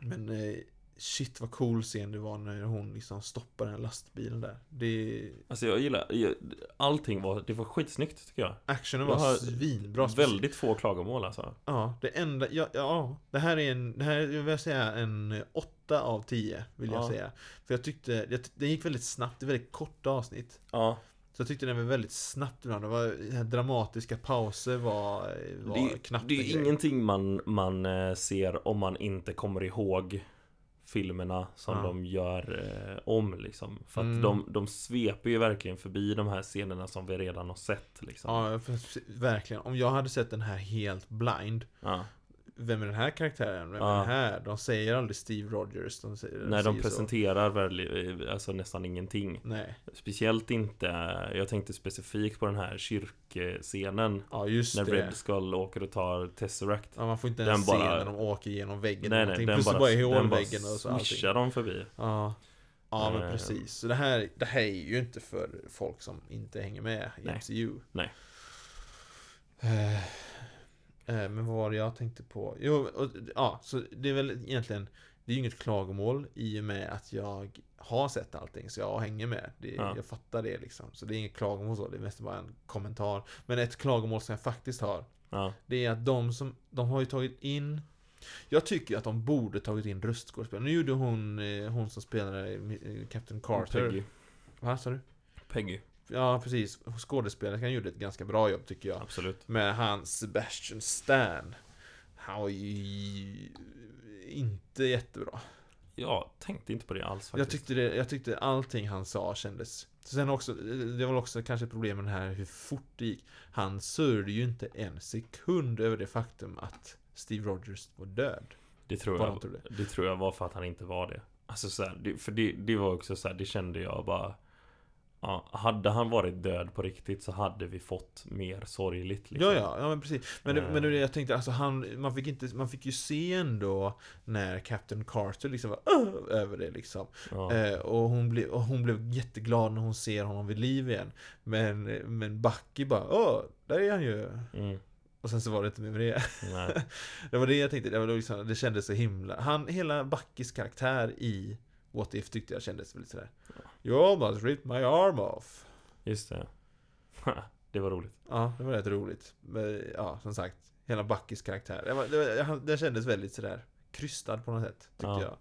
S2: Men eh, shit vad cool scen det var när hon liksom stoppar den här lastbilen där Det
S1: Alltså jag gillar, jag- allting var, det var skitsnyggt tycker jag.
S2: Actionen
S1: Jag
S2: var
S1: har
S2: svinbra speciellt-
S1: Väldigt få klagomål alltså.
S2: Ja, det enda, ja, ja det här är en, det här vill jag säga en 8 av 10 vill jag
S1: Ja.
S2: säga. För jag tyckte, jag, tyck- det gick väldigt snabbt, det är väldigt korta avsnitt.
S1: Ja,
S2: Så jag tyckte den var väldigt snabbt ibland, det var det här dramatiska pauser var, var
S1: det,
S2: knappt
S1: det
S2: en
S1: är
S2: grej.
S1: ingenting man, man eh, ser om man inte kommer ihåg filmerna som
S2: Ja.
S1: de gör eh, om liksom. För att
S2: Mm.
S1: de, de sveper ju verkligen förbi de här scenerna som vi redan har sett liksom. Ja.
S2: Ja, för- verkligen. Om jag hade sett den här helt blind, vem är den här karaktären? Vem
S1: Ja.
S2: är den här? De säger aldrig Steve Rogers. De säger,
S1: När de
S2: säger så.
S1: presenterar väl, eh, alltså nästan ingenting.
S2: Nej,
S1: Speciellt inte, jag tänkte specifikt på den här kyrkscenen.
S2: ja just
S1: När
S2: det.
S1: Red Skull åker och tar Tesseract.
S2: Ja, man får inte
S1: Den
S2: ens se
S1: bara-
S2: när de åker genom väggen.
S1: Nej
S2: eller
S1: nej,
S2: någonting.
S1: den
S2: Plus
S1: bara,
S2: bara, bara i
S1: den bara
S2: hålväggen och så allting.
S1: swishar dem förbi.
S2: Ja. Ja
S1: Eh.
S2: men precis. Så det här, det här är ju inte för folk som inte hänger med i
S1: Nej.
S2: MCU.
S1: Nej.
S2: Eh, eh, Men vad var det jag tänkte på? Jo, och, ja, så det är väl egentligen Det är ju inget klagomål i och med att jag har sett allting så jag hänger med. Det,
S1: Ja.
S2: Jag fattar det liksom. Så det är inget klagomål så, det är mest bara en kommentar. Men ett klagomål som jag faktiskt har
S1: Ja,
S2: det är att de som, de har ju tagit in Jag tycker att de borde tagit in röstskådespelare. Nu gjorde hon, eh, hon som spelade eh, Captain Carter
S1: Peggy.
S2: Vad sa du?
S1: Peggy,
S2: Ja precis, skådespelerskan gjorde ett ganska bra jobb tycker jag
S1: absolut.
S2: Med han Sebastian Stan Han var ju inte jättebra
S1: Jag tänkte inte på det alls faktiskt.
S2: jag tyckte, det, jag tyckte allting han sa kändes Sen också, det var också kanske problemen här hur fort det gick Han sörjde ju inte en sekund över det faktum att Steve Rogers var död
S1: Det tror,
S2: Vad de
S1: jag,
S2: trodde. liksom.
S1: det tror jag var för att han inte var det. Alltså så här, det, för det, det var också så här, det kände jag bara ja, Hade han varit död på riktigt så hade vi fått mer sorgligt liksom.
S2: Ja, ja, ja men precis. Men, det, men det,
S1: Eh.
S2: var det jag tänkte, alltså han, man fick inte, man fick ju se ändå när Captain Carter liksom var "Åh!" över det liksom.
S1: Ja.
S2: Eh, och, hon blev, och hon blev jätteglad när hon ser honom vid liv igen. Men, men Bucky bara Åh, där är han ju.
S1: Mm,
S2: Och sen så var det inte mer med det.
S1: nej.
S2: Det var det jag tänkte, det, var då liksom, det kändes så himla... Han, hela Buckys karaktär i What If tyckte jag kändes väldigt sådär. You almost ripped my arm off.
S1: Just det. det var roligt.
S2: Ja, det var rätt roligt. Men ja, som sagt. Hela Buckys karaktär. Det, var, det, var, han- det kändes väldigt sådär krystad på något sätt, tyckte
S1: Ja.
S2: jag.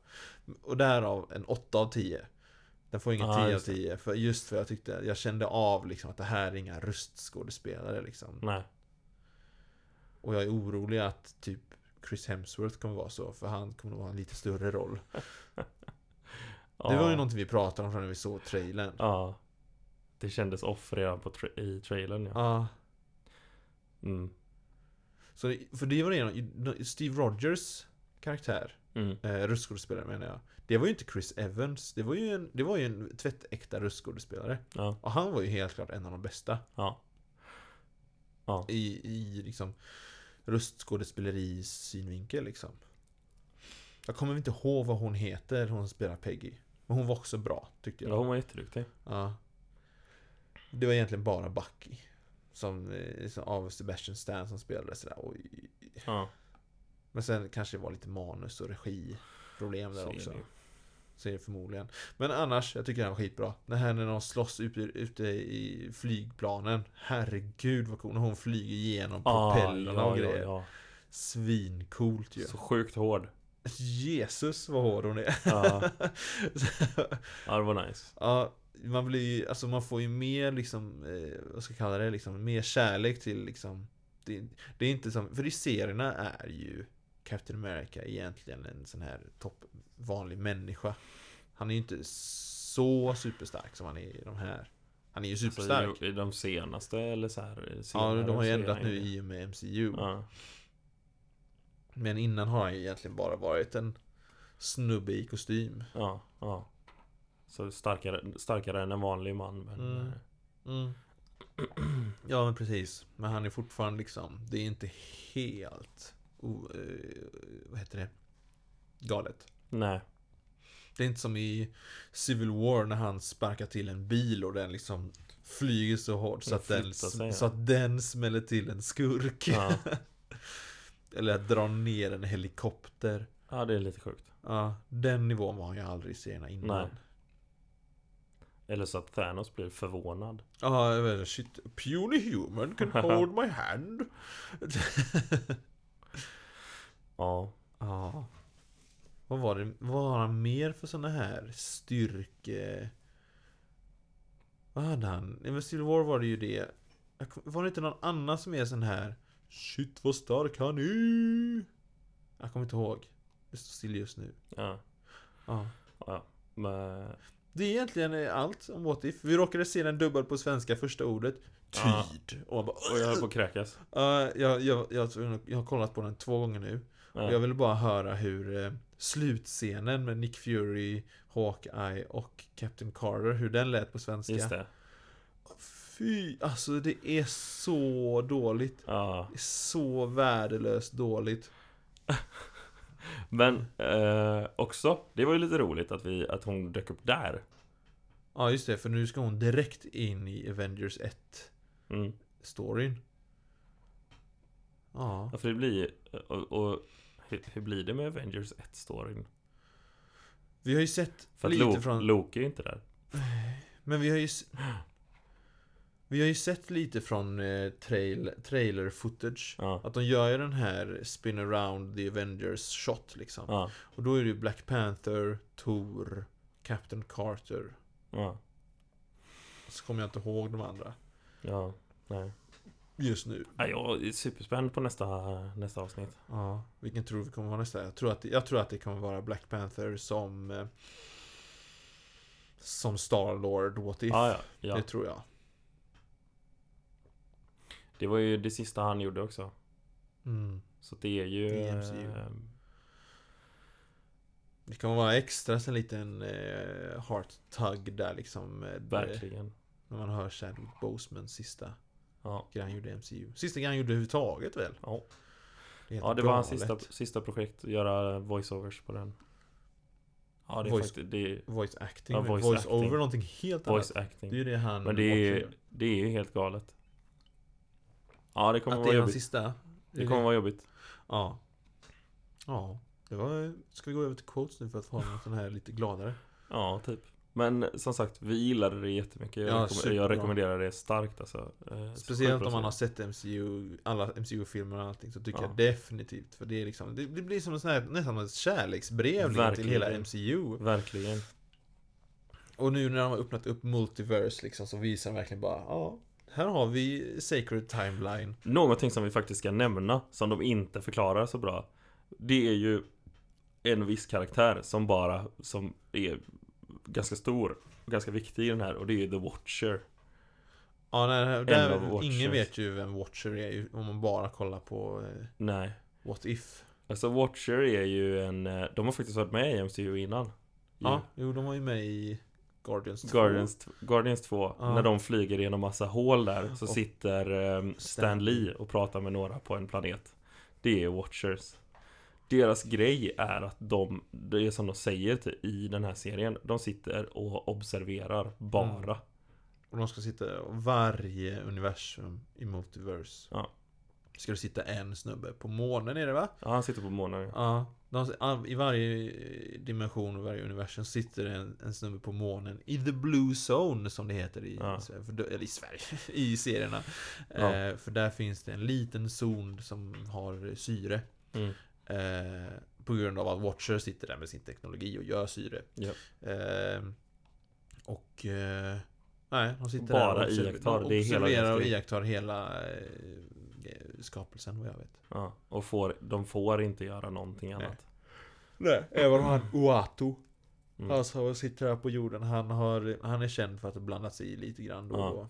S2: Och därav en 8 av 10. Den får ingen
S1: Ja,
S2: 10 av
S1: just det.
S2: 10, för just för jag tyckte, jag kände av liksom att det här är inga röstskådespelare liksom.
S1: Nej.
S2: Och jag är orolig att typ Chris Hemsworth kommer vara så, för han kommer nog ha en lite större roll.
S1: Ja,
S2: Det var ju någonting vi pratade om när vi såg trailern. Ja.
S1: Ja. Det kändes off redan på tra- i trailern ja. Mm.
S2: Så, för det var det, Steve Rogers karaktär
S1: Mm.
S2: Eh, röstskådespelare menar jag. Det var ju inte Chris Evans. Det var ju en, det var ju en tvättäkta röstskådespelare.
S1: Ja.
S2: Och han var ju helt klart en av de bästa.
S1: Ja. Ja.
S2: I, i liksom röstskådespeleri synvinkel liksom. Jag kommer inte ihåg vad hon heter, hon som spelar Peggy. Men hon var också bra, tyckte jag.
S1: ja, hon var jätteduktig.
S2: Ja. Det var egentligen bara Bucky. Som, eh, som av Sebastian Stan som spelade sådär. Oj.
S1: Ja,
S2: Men sen kanske det var lite manus och regiproblem där
S1: så är
S2: också.
S1: det ju.
S2: Så är det förmodligen. Men annars, jag tycker den var skitbra. Det här när de slåss ute, ute i flygplanen. Herregud vad coolt. När hon flyger igenom
S1: Ah,
S2: propellerna
S1: ja,
S2: och grejer.
S1: Ja,
S2: Svincoolt ju.
S1: ja. Så sjukt hård.
S2: Jesus vad hård hon är.
S1: Ja, ja det var nice.
S2: ja, man blir ju, alltså man får ju mer liksom, eh, vad ska jag kalla det, liksom, mer kärlek till liksom. Det, det är inte som, för i serierna är ju Captain America egentligen en sån här topp, vanlig människa. Han är ju inte så superstark som han är i de här. Han är ju
S1: Alltså,
S2: superstark.
S1: i, I de senaste eller så här
S2: ja,
S1: senare
S2: de har ju
S1: så är
S2: ändrat
S1: han
S2: nu
S1: ju-
S2: i och med MCU.
S1: Ja,
S2: Men innan har han ju egentligen bara varit en snubbe i kostym.
S1: ja, ja. Så starkare, starkare än en vanlig man. Men,
S2: Mm.
S1: eh,
S2: Ja men precis. Men han är fortfarande liksom, det är inte helt, o- eh, vad heter det, galet.
S1: nej.
S2: Det är inte som i Civil War när han sparkar till en bil och den liksom flyger så hårt så
S1: Den
S2: att den,
S1: flyttar sig, ja.
S2: så att den smäller till en skurk.
S1: Ja.
S2: Eller att dra ner en helikopter.
S1: ja, det är lite sjukt.
S2: Ja, den nivån var han ju aldrig i serierna innan.
S1: Nej. Eller så att Thanos blir förvånad.
S2: Ja, jag vet inte, shit. Puny human can hold my hand.
S1: Ja,
S2: Ja. Vad var det? Vad har han mer för såna här styrke... Vad hade han? I Civil War var det ju det. Jag kom- Var det inte någon annan som är sån här... Shit vad stark han är! Jag kommer inte ihåg. Det står still just nu.
S1: ja,
S2: Ja.
S1: ja. Men,
S2: Det är egentligen eh, allt om What If. Vi råkade se den dubbad på svenska första ordet.
S1: Ja.
S2: Tid. Och man bara...
S1: och jag höll på att kräkas.
S2: Ja, jag, jag, jag, jag har kollat på den två gånger nu.
S1: Ja.
S2: Jag ville bara höra hur eh, slutscenen med Nick Fury, Hawkeye och Captain Carter, hur den lät på svenska.
S1: Just det.
S2: Fy, alltså det är så dåligt.
S1: Ja.
S2: Det är så värdelöst dåligt.
S1: Men eh, också, det var ju lite roligt att, vi, att hon dök upp där.
S2: Ja, just det, för nu ska hon direkt in i Avengers 1-storyn.
S1: Mm.
S2: Ja,
S1: Ja, för det blir och, och hur, hur blir det med Avengers 1-storyn?
S2: vi har ju sett
S1: För att
S2: lite
S1: Lo-
S2: från...
S1: Loki är inte där.
S2: Men vi har ju... s- Vi har ju sett lite från eh, trail, trailer footage.
S1: Ja.
S2: Att de gör ju den här spin around the Avengers shot liksom.
S1: Ja.
S2: Och då är det ju Black Panther, Thor, Captain Carter.
S1: Ja.
S2: Så kommer jag inte ihåg de andra
S1: Ja. Nej.
S2: just nu.
S1: Ja, jag är superspänd på nästa, nästa avsnitt.
S2: Ja, vilken tror vi kommer vara nästa? Jag tror att, jag tror att det kommer vara Black Panther som eh, som Star-Lord, What If.
S1: Ja, ja, ja.
S2: Det tror jag.
S1: Det var ju eh, det sista han gjorde också.
S2: Mm.
S1: Så det är ju...
S2: I MCU.
S1: eh,
S2: Det kan vara extra så en liten eh, heart tug där liksom. eh,
S1: Verkligen.
S2: När man hör Chadwick Bosemans sista
S1: Ja.
S2: grej han gjorde i MCU. Sista grejen han gjorde överhuvudtaget väl?
S1: Ja.
S2: Det är helt
S1: Ja, det var hans
S2: galet.
S1: sista, sista projekt, att göra voiceovers på den. Ja, det är
S2: Voice-
S1: faktiskt, det är
S2: Voice acting,
S1: Ja,
S2: men
S1: voice
S2: voice,
S1: acting.
S2: over någonting helt
S1: voice
S2: annat. Det är
S1: acting.
S2: ju det han
S1: Men det
S2: också
S1: är,
S2: gör.
S1: det är ju helt galet. Ja, det kommer
S2: Att
S1: vara
S2: det är hans
S1: jobbigt.
S2: sista.
S1: Det kommer vara jobbigt.
S2: Ja. Ja. Det var... Ska vi gå över till quotes nu för att få något sån här lite gladare?
S1: Ja, typ. Men som sagt, vi gillade det jättemycket. Jag,
S2: Ja,
S1: rekomm-
S2: superbra.
S1: jag rekommenderar det starkt alltså. Eh,
S2: Speciellt om
S1: 7%.
S2: man har sett MCU, alla MCU-filmer och allting så tycker
S1: Ja.
S2: jag definitivt. För det är liksom, det, det blir som en sån här, nästan ett kärleksbrev liksom till
S1: Verkligen.
S2: hela MCU.
S1: Verkligen.
S2: Och nu när de har öppnat upp Multiverse liksom så visar de verkligen bara, ja. Här har vi Sacred Timeline.
S1: Någonting som vi faktiskt ska nämna, som de inte förklarar så bra. Det är ju en viss karaktär som bara, som är ganska stor och ganska viktig i den här och det är The Watcher.
S2: Ja, nej, där,
S1: av
S2: ingen
S1: Watchers.
S2: vet ju vem Watcher är ju, om man bara kollar på eh,
S1: Nej.
S2: What If.
S1: Alltså Watcher är ju en, eh, de har faktiskt varit med i MCU innan.
S2: Ja, jo de var ju med i Guardians 2.
S1: Guardians, Guardians 2,
S2: Ja.
S1: när de flyger genom massa hål där så
S2: Och-
S1: sitter ehm,
S2: Stan
S1: Stan Lee och pratar med några på en planet. Det är Watchers. Deras grej är att de, det är som de säger till- i den här serien, de sitter och observerar bara.
S2: Mm. Och de ska sitta, och varje universum i Multiverse.
S1: Ja.
S2: Ska det sitta en snubbe på månen är det va?
S1: Ja, han sitter på månen.
S2: Ja, de, all- i varje dimension och varje universum sitter en, en snubbe på månen i the blue zone som det heter i,
S1: Ja.
S2: Sverige, för, då- eller i Sverige, i serierna.
S1: Ja.
S2: Eh, för där finns det en liten zon som har syre.
S1: Mm.
S2: Eh, på grund av att Watcher sitter där med sin teknologi och gör syre.
S1: Ja.
S2: Eh, och... Eh, nej, de sitter
S1: Bara
S2: där och observer-
S1: iakttar,
S2: de
S1: det är hela
S2: observerar
S1: deras
S2: och
S1: grej.
S2: iakttar hela eh, skapelsen vad jag vet.
S1: Ja, och får, de får inte göra någonting
S2: Nej.
S1: annat.
S2: Nej, även han Uatu.
S1: Mm.
S2: Han som sitter här på jorden, han, har, han är känd för att ha blandat sig i lite grann då och
S1: Ja.
S2: då.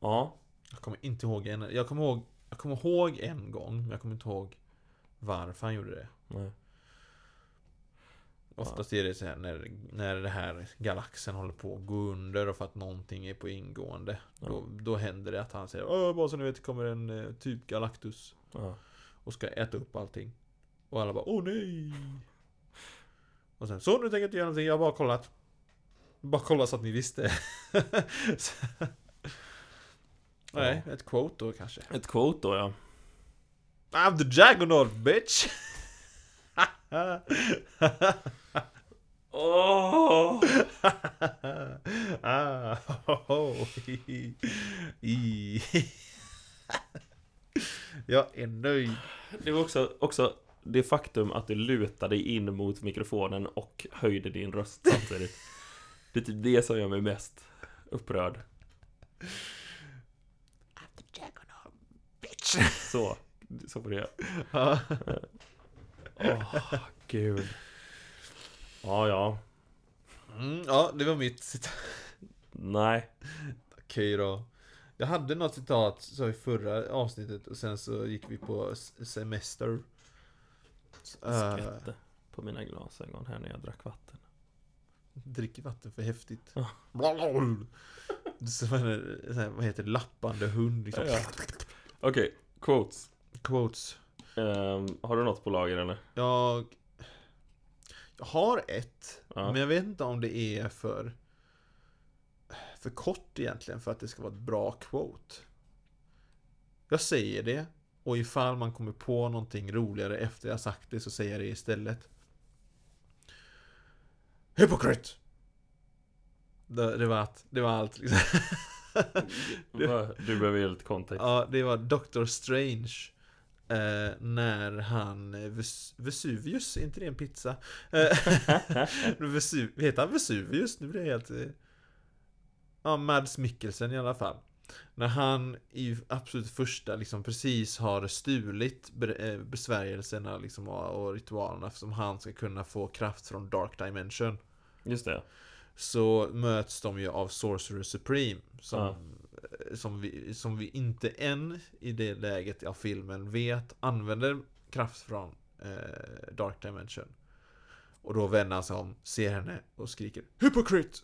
S1: Ja,
S2: Jag kommer inte ihåg en, jag kommer ihåg, jag kommer ihåg en gång, men jag kommer inte ihåg varför han gjorde det.
S1: nej.
S2: Oftast är det så här när, när det här galaxen håller på att gå under och för att någonting är på ingående.
S1: Ja.
S2: Då, då händer det att han säger Åh, bara så ni vet kommer en eh, typ Galactus
S1: Ja.
S2: och ska äta upp allting. Och alla bara Åh nej! Och sen så nu tänker jag inte göra någonting, jag har bara kollat. Bara kollat så att ni visste. Så- Nej, ett quote då kanske.
S1: Ett quote då ja.
S2: I'm the Jaggernaut bitch!
S1: Åh!
S2: ah, ho, ho, hi, hi. Jag är nöjd.
S1: Det var också, också det faktum att du lutade in mot mikrofonen och höjde din röst samtidigt. Det är typ det som gör mig mest upprörd. Så, så får det göra.
S2: Ja.
S1: Åh, gud. Ja, ja.
S2: Mm, ja, det var mitt citat.
S1: Nej.
S2: Okej då. Jag hade något citat så i förra avsnittet och sen så gick vi på s- semester. Eh,
S1: Skvätte på mina glasögon här när jag drack vatten.
S2: dricker vatten för häftigt.
S1: Ja.
S2: Blablabla. Som en, sån här, vad heter det, lappande hund liksom.
S1: Ja. Okej, quotes.
S2: Quotes.
S1: Ehm, har du något på lager eller?
S2: Jag... Jag har ett,
S1: Ja.
S2: men jag vet inte om det är för... För kort egentligen för att det ska vara ett bra quote. Jag säger det, och ifall man kommer på någonting roligare efter jag sagt det så säger jag det istället. Hypocrite! Det, det var allt. Det var allt. liksom. Du-
S1: Va? Du behöver ge lite kontext.
S2: Ja, det var Doctor Strange. Eh, när han eh, Ves- Vesuvius, är inte det en pizza? Eh, Vesu heter han Vesuvius? Nu blir jag helt... eh, Ja, Mads Mikkelsen i alla fall. När han i absolut första liksom precis har stulit ber- eh, besvärjelserna liksom och och ritualerna som han ska kunna få kraft från Dark Dimension.
S1: Just det.
S2: Så möts de ju av Sorcerer Supreme Som, eh,
S1: Ja.
S2: som, vi, som vi inte än i det läget av filmen vet använder kraft från eh, Dark Dimension. Och då vänder han sig om, ser henne och skriker Hypocrite!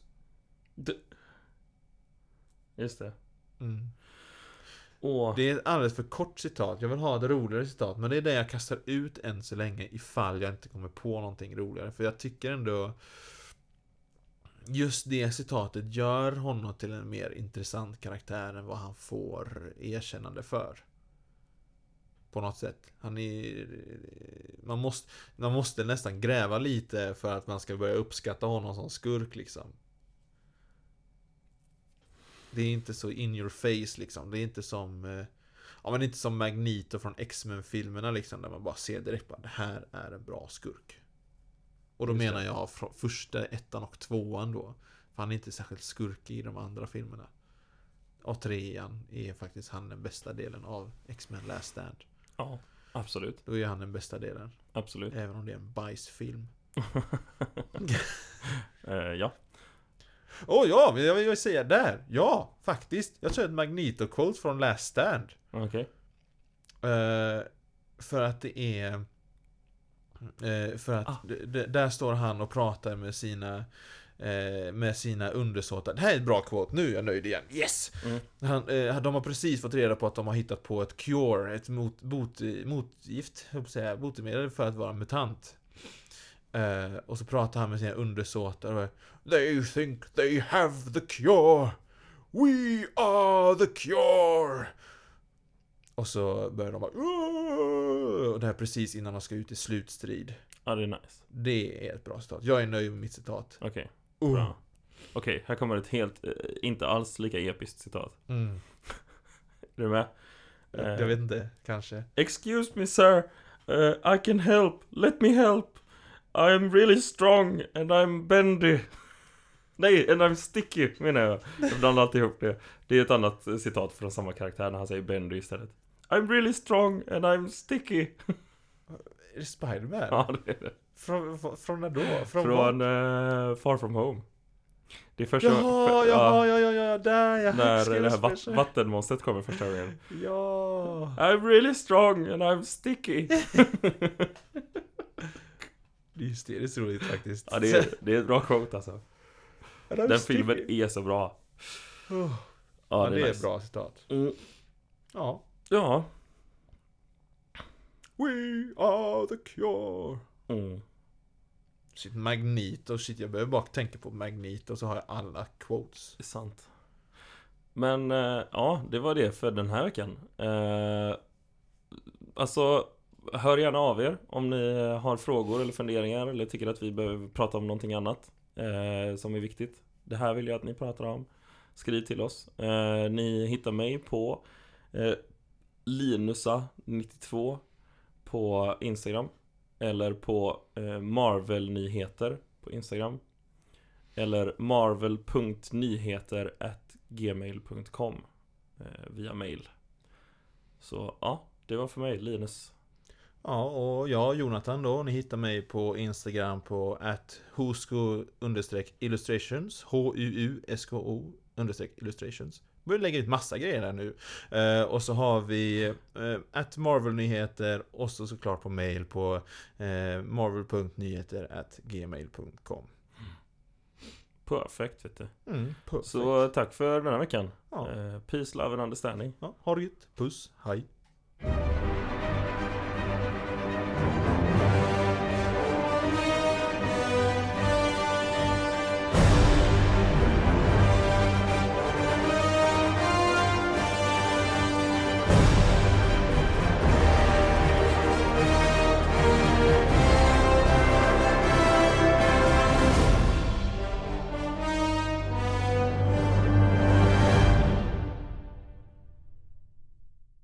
S1: Just det.
S2: Mm.
S1: Åh,
S2: Det är ett alldeles för kort citat. Jag vill ha ett roligare citat. Men det är det jag kastar ut än så länge ifall jag inte kommer på någonting roligare. För jag tycker ändå Just det citatet gör honom till en mer intressant karaktär än vad han får erkännande för. På något sätt. Han är... Man måste, man måste nästan gräva lite för att man ska börja uppskatta honom som skurk liksom. Det är inte så in your face liksom. Det är inte som... eh, Ja men inte som Magneto från X-Men-filmerna liksom. Där man bara ser direkt bara, det här är en bra skurk. Och då
S1: Just det.
S2: menar jag från första ettan och tvåan då. För han är inte särskilt skurkig i de andra filmerna. Och trean är faktiskt han den bästa delen av X-Men Last Stand.
S1: ja. Absolut,
S2: Då är han den bästa delen.
S1: absolut.
S2: Även om det är en bajsfilm.
S1: Eh, ja.
S2: Åh oh, ja, men jag vill säga där. Ja, faktiskt. Jag tror ett Magneto-quote från Last Stand.
S1: Okej.
S2: Eh, för att det är... eh, för att
S1: Ah.
S2: d- d- där står han och pratar med sina eh, med sina undersåtar. Det här är ett bra kvot, nu är jag nöjd igen. Yes!
S1: Mm.
S2: Han, eh, de har precis fått reda på att de har hittat på ett cure, ett mot, bot, motgift, höll på att säga, botemedel för att vara mutant. Eh, och så pratar han med sina undersåtar och They think they have the cure. We are the cure. Och så börjar de bara "Åh!" Och det här precis innan de ska ut i slutstrid.
S1: Ja, det är nice.
S2: Det är ett bra citat. Jag är nöjd med mitt citat.
S1: Okej, Mm.
S2: Uh.
S1: bra. Okej, här kommer ett helt, eh, inte alls lika episkt citat.
S2: Mm.
S1: Är du med?
S2: Jag,
S1: Eh,
S2: jag vet inte, kanske.
S1: Excuse me sir, Eh, I can help, let me help. I'm really strong and I'm bendy. Nej, and I'm sticky menar jag. Jag blandar alltid ihop det. Det är ett annat eh, citat från samma karaktär när han säger bendy istället. I'm really strong and I'm sticky.
S2: Är det Spiderman?
S1: Ja, det är det.
S2: Från, från, från när då? Från,
S1: Från eh, Far From Home. Det är första
S2: Jaha,
S1: för-
S2: jaha, ja, ja, ja, där ja.
S1: När
S2: Ska
S1: det här
S2: jag
S1: vat-
S2: spela-
S1: vattenmonstret kommer första gången.
S2: Ja.
S1: I'm really strong and I'm sticky.
S2: Det är hysteriskt roligt faktiskt.
S1: Ja, det är, det är ett bra quote alltså.
S2: Ja, det är
S1: Den
S2: sticky.
S1: filmen är så bra.
S2: Oh.
S1: Ja,
S2: Ja, det är
S1: nice.
S2: bra citat.
S1: Mm.
S2: Ja.
S1: Ja.
S2: We are the cure.
S1: Mm.
S2: Shit, Magneto, shit jag behöver bara tänka på Magneto så har jag alla quotes.
S1: Det är sant. Men eh, ja, det var det för den här veckan. Eh, alltså, hör gärna av er om ni har frågor eller funderingar eller tycker att vi behöver prata om någonting annat eh, som är viktigt. Det här vill jag att ni pratar om. Skriv till oss. Eh, ni hittar mig på eh, Linusa92 på Instagram. Eller på eh, Marvel-nyheter på Instagram. Eller marvel.nyheter gmail.com eh, via mail. Så ja, det var för mig Linus.
S2: Ja, och jag Jonathan då, ni hittar mig på Instagram på at illustrations H-U-U-S-K-O understreck illustrations. Börjar lägga ut massa grejer där nu. Eh, och så har vi eh, at marvelnyheter och så såklart på mail på eh, marvel.nyheter at gmail.com.
S1: Perfekt vet du.
S2: Mm, perfekt.
S1: Så eh, tack för den här veckan.
S2: Ja.
S1: Eh, peace, love and understanding.
S2: ja, ha det gött. Puss, hej.